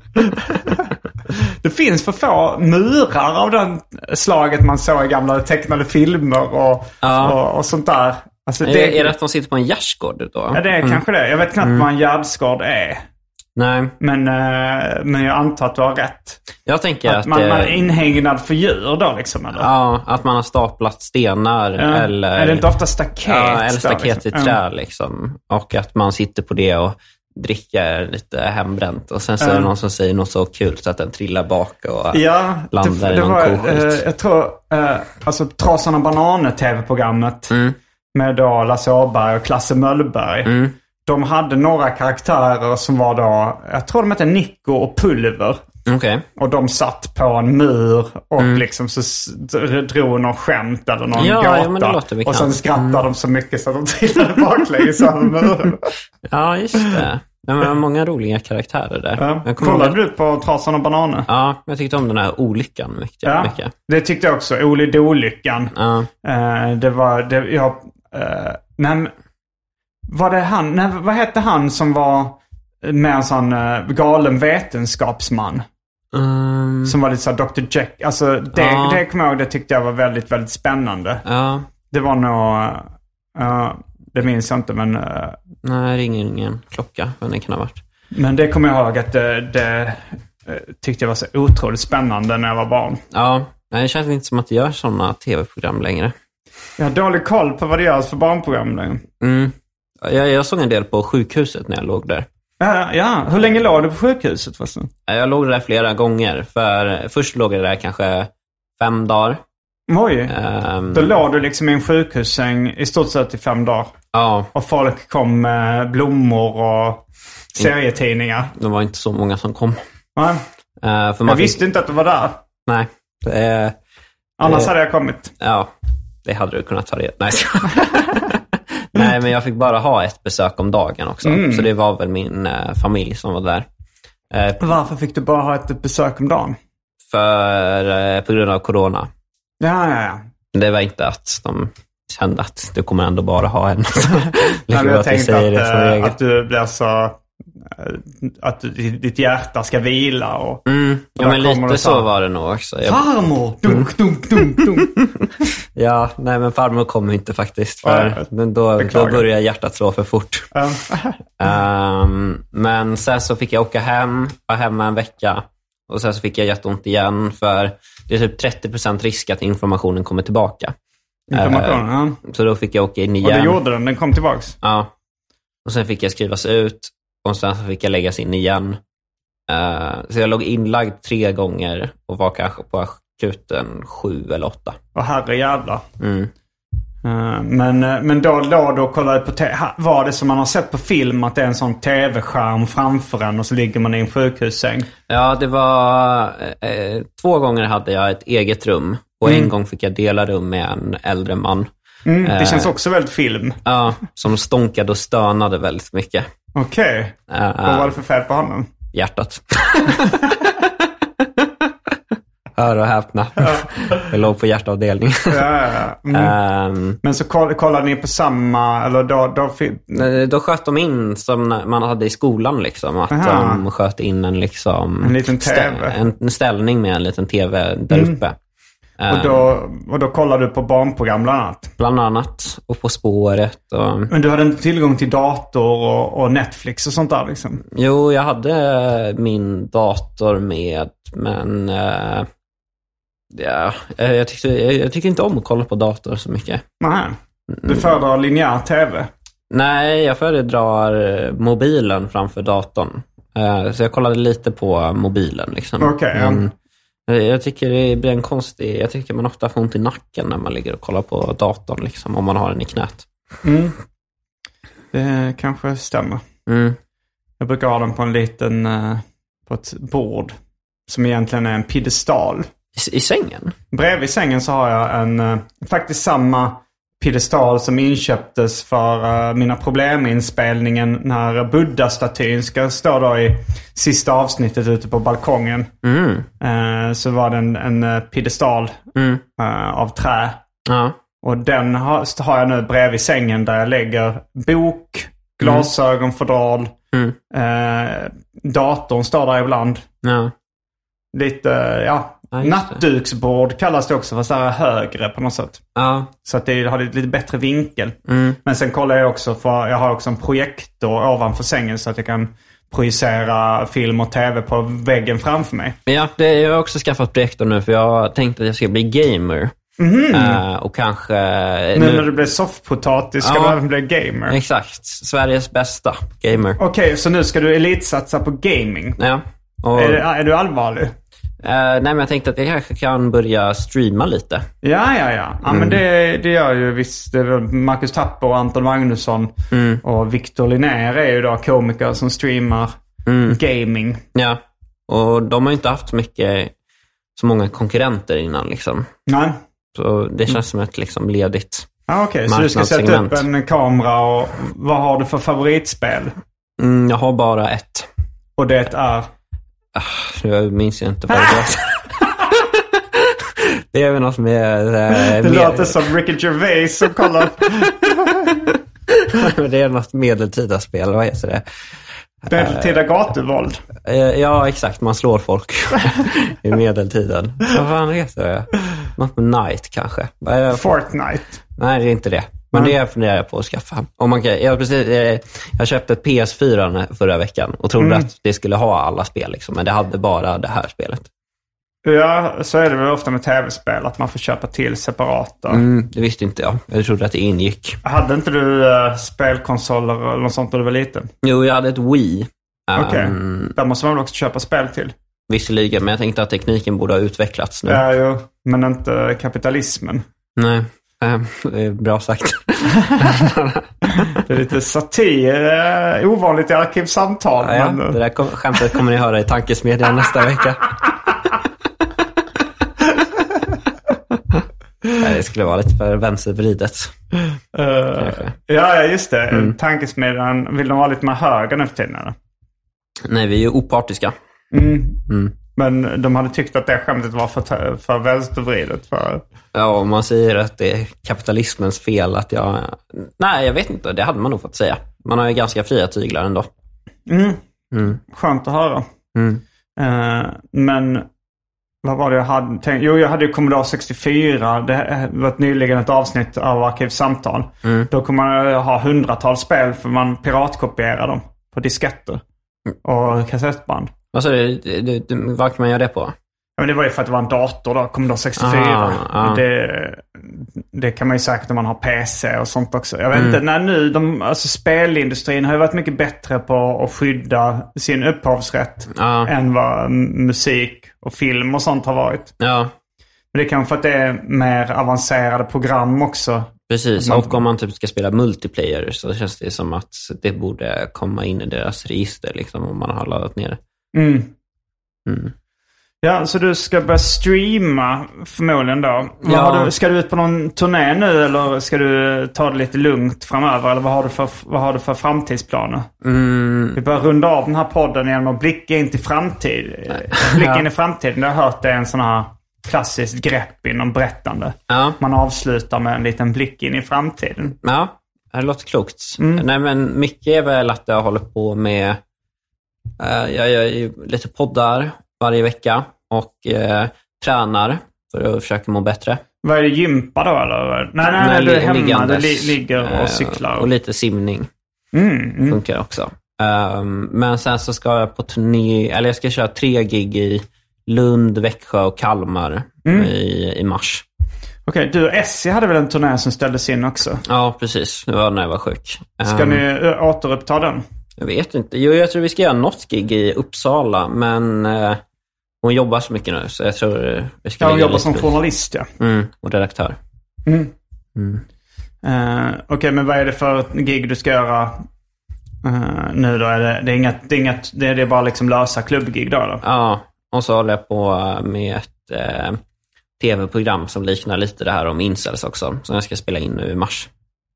Det finns för få murar av den slaget man såg i gamla tecknade filmer och, Ja. och, och sånt där. Alltså, är, det, är det att de sitter på en gärdsgård då? Ja, det är kanske det. Jag vet knappt Mm. vad en gärdsgård är. Nej, Men, eh, men jag antar att du har rätt. jag tänker att, Att man, det, man är inhägnad för djur då liksom? Eller? ja, att man har staplat stenar Ja. eller... Är det inte ofta staket? Ja, eller där, staket i liksom? trä liksom. Och att man sitter på det och dricker lite hembränt. Och sen så är det någon som säger något så kul så att den trillar bak och Ja, landar det, i det någon var, koskit. eh, jag tror, eh, alltså Trasan och Bananer, tv-programmet Mm. med då Lasse Åberg och Klasse Möllberg. De hade några karaktärer som var då, jag tror de hette Nico och Pulver. Okej. Och de satt på en mur och liksom så s- dr- drog någon skämt eller någon Mm. Ja, gata. ja, men det låter och bekant. sen skrattade de så mycket så att de trillade baklänges över muren. Ja, just det. Nej, men det var många roliga karaktärer där. Ja. Jag kommer ihåg Kollade att- du på Trasan och Bananer? Ja, jag tyckte om den här olyckan mycket. mycket. det tyckte jag också. Oli Dolyckan. Ja. Eh, det var, det, jag, eh, nej, men- var det han, nej, vad hette han som var Med en sån eh, galen vetenskapsman. Mm, Som var lite såhär Dr. Jack. Alltså det, Ja. det kommer jag ihåg, det tyckte jag var väldigt, väldigt spännande. ja, Det var nog, eh, det minns jag inte men, eh, nej, ringer ingen klocka, men det kan ha varit. men det kommer jag ihåg att det, det eh, tyckte jag var så otroligt spännande när jag var barn. Ja, nej, det känns inte som att det görs sådana tv-program längre. Jag har dålig koll på vad det görs för barnprogram nu. Mm. Jag, jag såg en del på sjukhuset när jag låg där. Ja, ja, hur länge låg du på sjukhuset förresten? Jag låg där flera gånger. För Först låg jag där kanske fem dagar. Oj. Ehm, Då låg du liksom i en sjukhussäng i stort sett i fem dagar. ja, Och folk kom med blommor och serietidningar. det var inte så många som kom. Ja, Eh, för man jag fick- visste inte att du var där. Nej. Eh, Annars Eh. hade jag kommit. ja, det hade du kunnat ta reda Nej, så- Nej, men jag fick bara ha ett besök om dagen också. Mm. Så det var väl min eh, familj som var där. Eh, Varför fick du bara ha ett besök om dagen? för, eh, på grund av corona. Ja, ja, ja. Det var inte att de kände att du kommer ändå bara ha en. Nej, Liksom men jag att vi tänkte säger att, det som eh, regel. att du blir så... eh, Att du- ditt hjärta ska vila och... Mm. Ja, Där men kommer det lite fram. så var det nog också. Jag, Farmor! Dunk, dunk, dunk, dunk. ja, nej, men farmor kom inte faktiskt. Ja, För jag men då, då beklagar. började hjärtat slå för fort. Eh, Ehm, men sen så fick jag åka hem, var hemma en vecka och sen så fick jag jätteont igen för det är typ 30 risk att informationen kommer tillbaka. Informationen, ja. Så då fick jag åka in Och igen. det gjorde den. Den kom tillbaks. Ja. Och sen fick jag skrivas ut och sen så fick jag läggas in igen. Eh, så jag låg inlagd tre gånger och var kanske på akuten sju eller åtta. Och herrejävlar. Mm. Eh, Men, eh, men då låg du och kollade på te- ha- Var det som man har sett på film att det är en sån tv-skärm framför en och så ligger man i en sjukhussäng? Ja, det var... Eh, två gånger hade jag ett eget rum och en gång fick jag dela rum med en äldre man. Mm, det Eh. känns också väldigt film. Ja, som stånkade och stönade väldigt mycket. Okej. Eh, Vad var det för fel på honom? Hjärtat. Hör och häpna. Jag låg på hjärtavdelningen. Ja, ja, ja. Mm. Ehm, Men så koll, kollade ni på samma, eller då, då fi- Eh, Då sköt de in som när man hade i skolan. Liksom, att Aha. de sköt in en, liksom, En liten Mm. TV. en, en ställning med en liten tv där uppe. Eh, och, då, och då kollade du på barnprogram bland annat. Bland annat. Och På spåret. Och, Men du hade inte tillgång till dator och, och Netflix och sånt där liksom? jo, jag hade eh, min dator med, men eh, ja, eh, jag, tyckte, jag, jag tycker inte om att kolla på dator så mycket. Nej. Du föredrar linjär tv? Nej, jag föredrar eh, mobilen framför datorn. Eh, Så jag kollade lite på mobilen. Liksom. Okej, ja. Men, eh, Jag tycker det blir en konstig... Jag tycker man ofta får ont i nacken när man ligger och kollar på datorn, liksom, om man har den i knät. Det kanske stämmer. Mm. Jag brukar ha den på en liten, eh, på ett bord. Som egentligen är en piedestal. I, I sängen? Bredvid sängen så har jag en, eh, faktiskt samma piedestal som inköptes för eh, mina probleminspelningen när Buddha-statyn ska stå då i sista avsnittet ute på balkongen. Mm. Eh, så var det en, en eh, piedestal Mm. eh, av trä. Ja. Och den har, har jag nu bredvid sängen där jag lägger bok, glasögonfodral, Mm. eh, datorn står där ibland. ja. Lite, eh, ja, Ja, just det. nattduksbord kallas det också fast det här är högre på något sätt. ja. Så att det har lite bättre vinkel. Mm. Men sen kollar jag också, för jag har också en projektor ovanför sängen så att jag kan projicera film och tv på väggen framför mig. Men Ja, det, jag har också skaffat projektor nu för jag tänkte att jag ska bli gamer. Mhm. Eh, och kanske... Nu när du blir soffpotatis ska Ja. du även bli gamer. Okej, Exakt. Sveriges bästa gamer. så nu ska du elitsatsa på gaming. Ja. Och, Är, är du allvarlig? Eh, nej, men jag tänkte att jag kanske kan börja streama lite. Ja, ja, ja. ja Mm. men det, det gör ju visst. Det är väl Marcus Tapper och Anton Magnusson Mm. och Victor Linnér är ju då komiker som streamar Mm. gaming. Ja. Och de har ju inte haft så mycket, så många konkurrenter innan liksom. Nej. Så det Mm. känns som ett liksom ledigt. Ja, Okej, så du ska sätta upp Marknadssegment. en kamera och vad har du för favoritspel? Mm, jag har bara ett. Och det Eh, är... Jag minns ju inte vad det var. det är väl något med... Eh, Det låter med som Ricky Gervais som kollar. det är något medeltida spel, vad heter det? Medeltida gatuvåld. Eh, Ja, exakt. Man slår folk i medeltiden. Vad fan heter det? Något med Knight kanske? Vad är det? Fortnite. Nej, det är inte det. Men det funderar jag på att skaffa. Om man kan, jag, precis, eh, jag köpte ett PS4 n eh, förra veckan och trodde att det skulle ha alla spel, liksom, men det hade bara det här spelet. Ja, så är det väl ofta med tv-spel, att man får köpa till separata. Mm, det visste inte jag. Jag trodde att det ingick. Hade inte du eh, spelkonsoler eller något sånt när du var liten? Jo, jag hade ett Wii. Ehm, Okej. Där måste man väl också köpa spel till? Visserligen, men jag tänkte att tekniken borde ha utvecklats nu. Ja, jo. Men inte kapitalismen. Nej, ehm, det är bra sagt. Det är lite satir. eh, Ovanligt i arkivsamtal. Ja, ja, men, eh, det där kom, skämtet kommer ni höra i tankesmedjan nästa vecka. Nej, det skulle vara lite för vänstervridet. eh, ja, ja, just det. Mm. Tankesmedjan, vill de vara lite mer höger nu för tiden? eller? Nej, vi är ju opartiska. Men de hade tyckt att det skämtet var för, för vänstervridet. För... Ja, om man säger att det är kapitalismens fel att jag... Nej, jag vet inte. Det hade man nog fått säga. Man har ju ganska fria tyglar ändå. Skönt att höra. Mm. Eh, men vad var det jag hade tänkt? Jo, jag hade ju Commodore 64. Det var nyligen ett avsnitt av Arkivsamtal. Mm. Då kommer man ha hundratals spel för man piratkopierar dem på disketter Mm. och kassettband. Alltså, det, det, det, vad kan man göra det på? Ja, men det var ju för att det var en dator då, Commodore 64. Ah, ah. Det, det kan man ju säkert om man har PC och sånt också. Jag vet Mm. inte, när nu, de, alltså spelindustrin har ju varit mycket bättre på att skydda sin upphovsrätt Ja. än vad m- musik och film och sånt har varit. Ja, Men det är kanske för att det är mer avancerade program också. precis. Och om man typ ska spela multiplayer så känns det som att det borde komma in i deras register liksom, om man har laddat ner det. Mm. Mm. Ja, så du ska börja streama förmodligen då. Vad Ja. Har du, ska du ut på någon turné nu eller ska du ta det lite lugnt framöver? Eller vad har du för, vad har du för framtidsplaner? Mm. Vi börjar runda av den här podden genom att blicka in till framtid. Blicka in i framtiden. Jag har hört det är en sån här klassiskt grepp inom berättande. Ja. Man avslutar med en liten blick in i framtiden. Ja, det låter klokt. Mm. Nej, men mycket är väl att jag håller på med... eh, jag gör ju lite poddar varje vecka och eh, tränar för att försöka må bättre. Vad är det, gympa då eller? Nej, nej, nej, Men du är li- hemma. Du liggandes, li- ligger eh, och cyklar. Och lite simning Mm, mm. funkar också. Ehm, men sen så ska jag på turné, eller jag ska köra tre gig i Lund, Växjö och Kalmar Mm. i, i mars. Okej, du och Essie hade väl en turné som ställdes in också? Ja, precis. Det var när jag var sjuk. Ska Ehm, ni ö, återuppta den? Jag vet inte. Jo, jag tror vi ska göra något gig i Uppsala, men eh, hon jobbar så mycket nu, så jag tror eh, vi ska Ja, hon lägga jobbar lite som på- journalist ja. mm, och redaktör. Eh, Okej, men vad är det för gig du ska göra eh, nu då? Är det, det, är inget, det, är inget, det är det bara liksom lösa klubbgig då? då? Ja, och så håller jag på med ett eh, tv-program som liknar lite det här om incels också, som jag ska spela in nu i mars.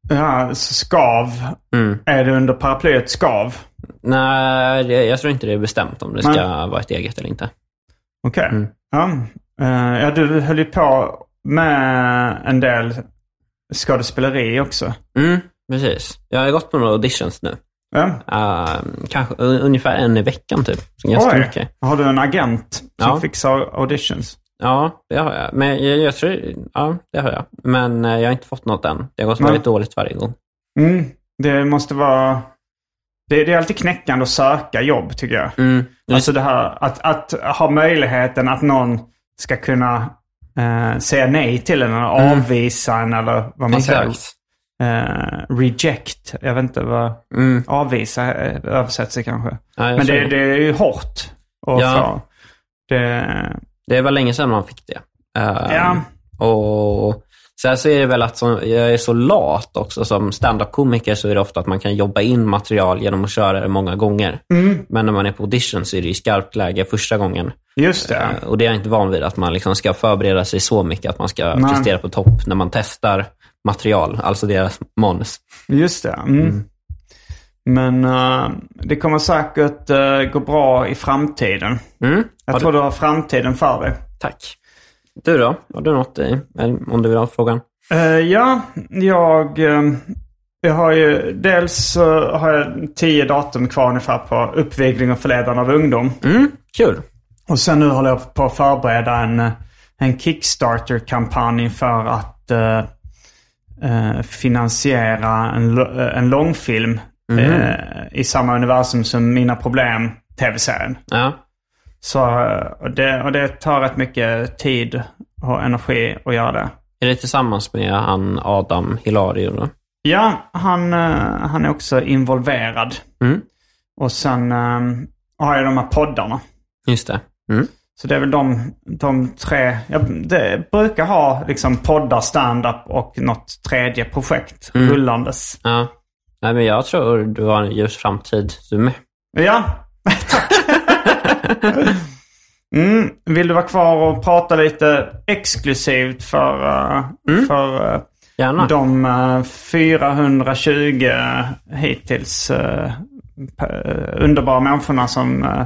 Ja, så skav. Mm. Är det under paraplyet skav? Nej, det, jag tror inte det är bestämt om det ska vara ett eget eller inte. Okej. Mm. Ja. Eh, ja, du höll ju på med en del skådespeleri också. Mm, precis. Jag har gått på några auditions nu. Ja. Eh, kanske u- ungefär en i veckan typ. Så ganska Oj. mycket. Har du en agent som Ja. fixar auditions? Ja, det har jag. Men jag, jag tror, ja, det har jag. Men eh, jag har inte fått något än. Det har gått Nej. väldigt dåligt varje gång. Mm. Det måste vara... Det, det är alltid knäckande att söka jobb tycker jag. Mm. Alltså det här att, att ha möjligheten att någon ska kunna eh, säga nej till en eller avvisa en eller vad man Mm. Exakt. säger. Eh, reject. Jag vet inte vad... Mm. Avvisa eh, översätts det kanske. Ja, jag Men tror det, det. det är ju hårt. Och Ja. ja. det, Det var länge sedan man fick det. Eh, Ja. Och sen så är det väl att som, jag är så lat också. Som standup-komiker så är det ofta att man kan jobba in material genom att köra det många gånger. Mm. Men när man är på audition så är det ju skarpt läge första gången. just det. Eh, Och det är jag inte van vid, att man liksom ska förbereda sig så mycket att man ska Nej. prestera på topp när man testar material, alltså deras manus. Just det. Mm. Men eh, det kommer säkert eh, gå bra i framtiden. Mm. Jag tror du har framtiden för dig. Tack. Du då? Har du något i, eller om du vill ha frågan? Eh, ja, Eh, jag eh, Jag har ju, dels eh, har jag tio datum kvar ungefär på uppvigling och förledande av ungdom. Mm. Kul. Och sen nu håller jag på att förbereda en, eh, en Kickstarter-kampanj för att eh, eh, finansiera en, lo- eh, en långfilm eh, i samma universum som Mina Problem, tv-serien. Ja. Så eh, och det, och det tar rätt mycket tid och energi att göra det. Är det tillsammans med han Adam Hilario? Då? Ja, han, eh, han är också involverad. Mm. Och sen eh, har jag de här poddarna. Just det. Mm. Så det är väl de, de tre. Jag det, brukar ha liksom poddar, stand-up och något tredje projekt rullandes. Ja. Nej, men jag tror du har en ljus framtid, du med. Ja, tack. mm. Vill du vara kvar och prata lite exklusivt för, eh, för eh, Gärna. de eh, 420 hittills eh, pe- eh, underbara människorna som eh,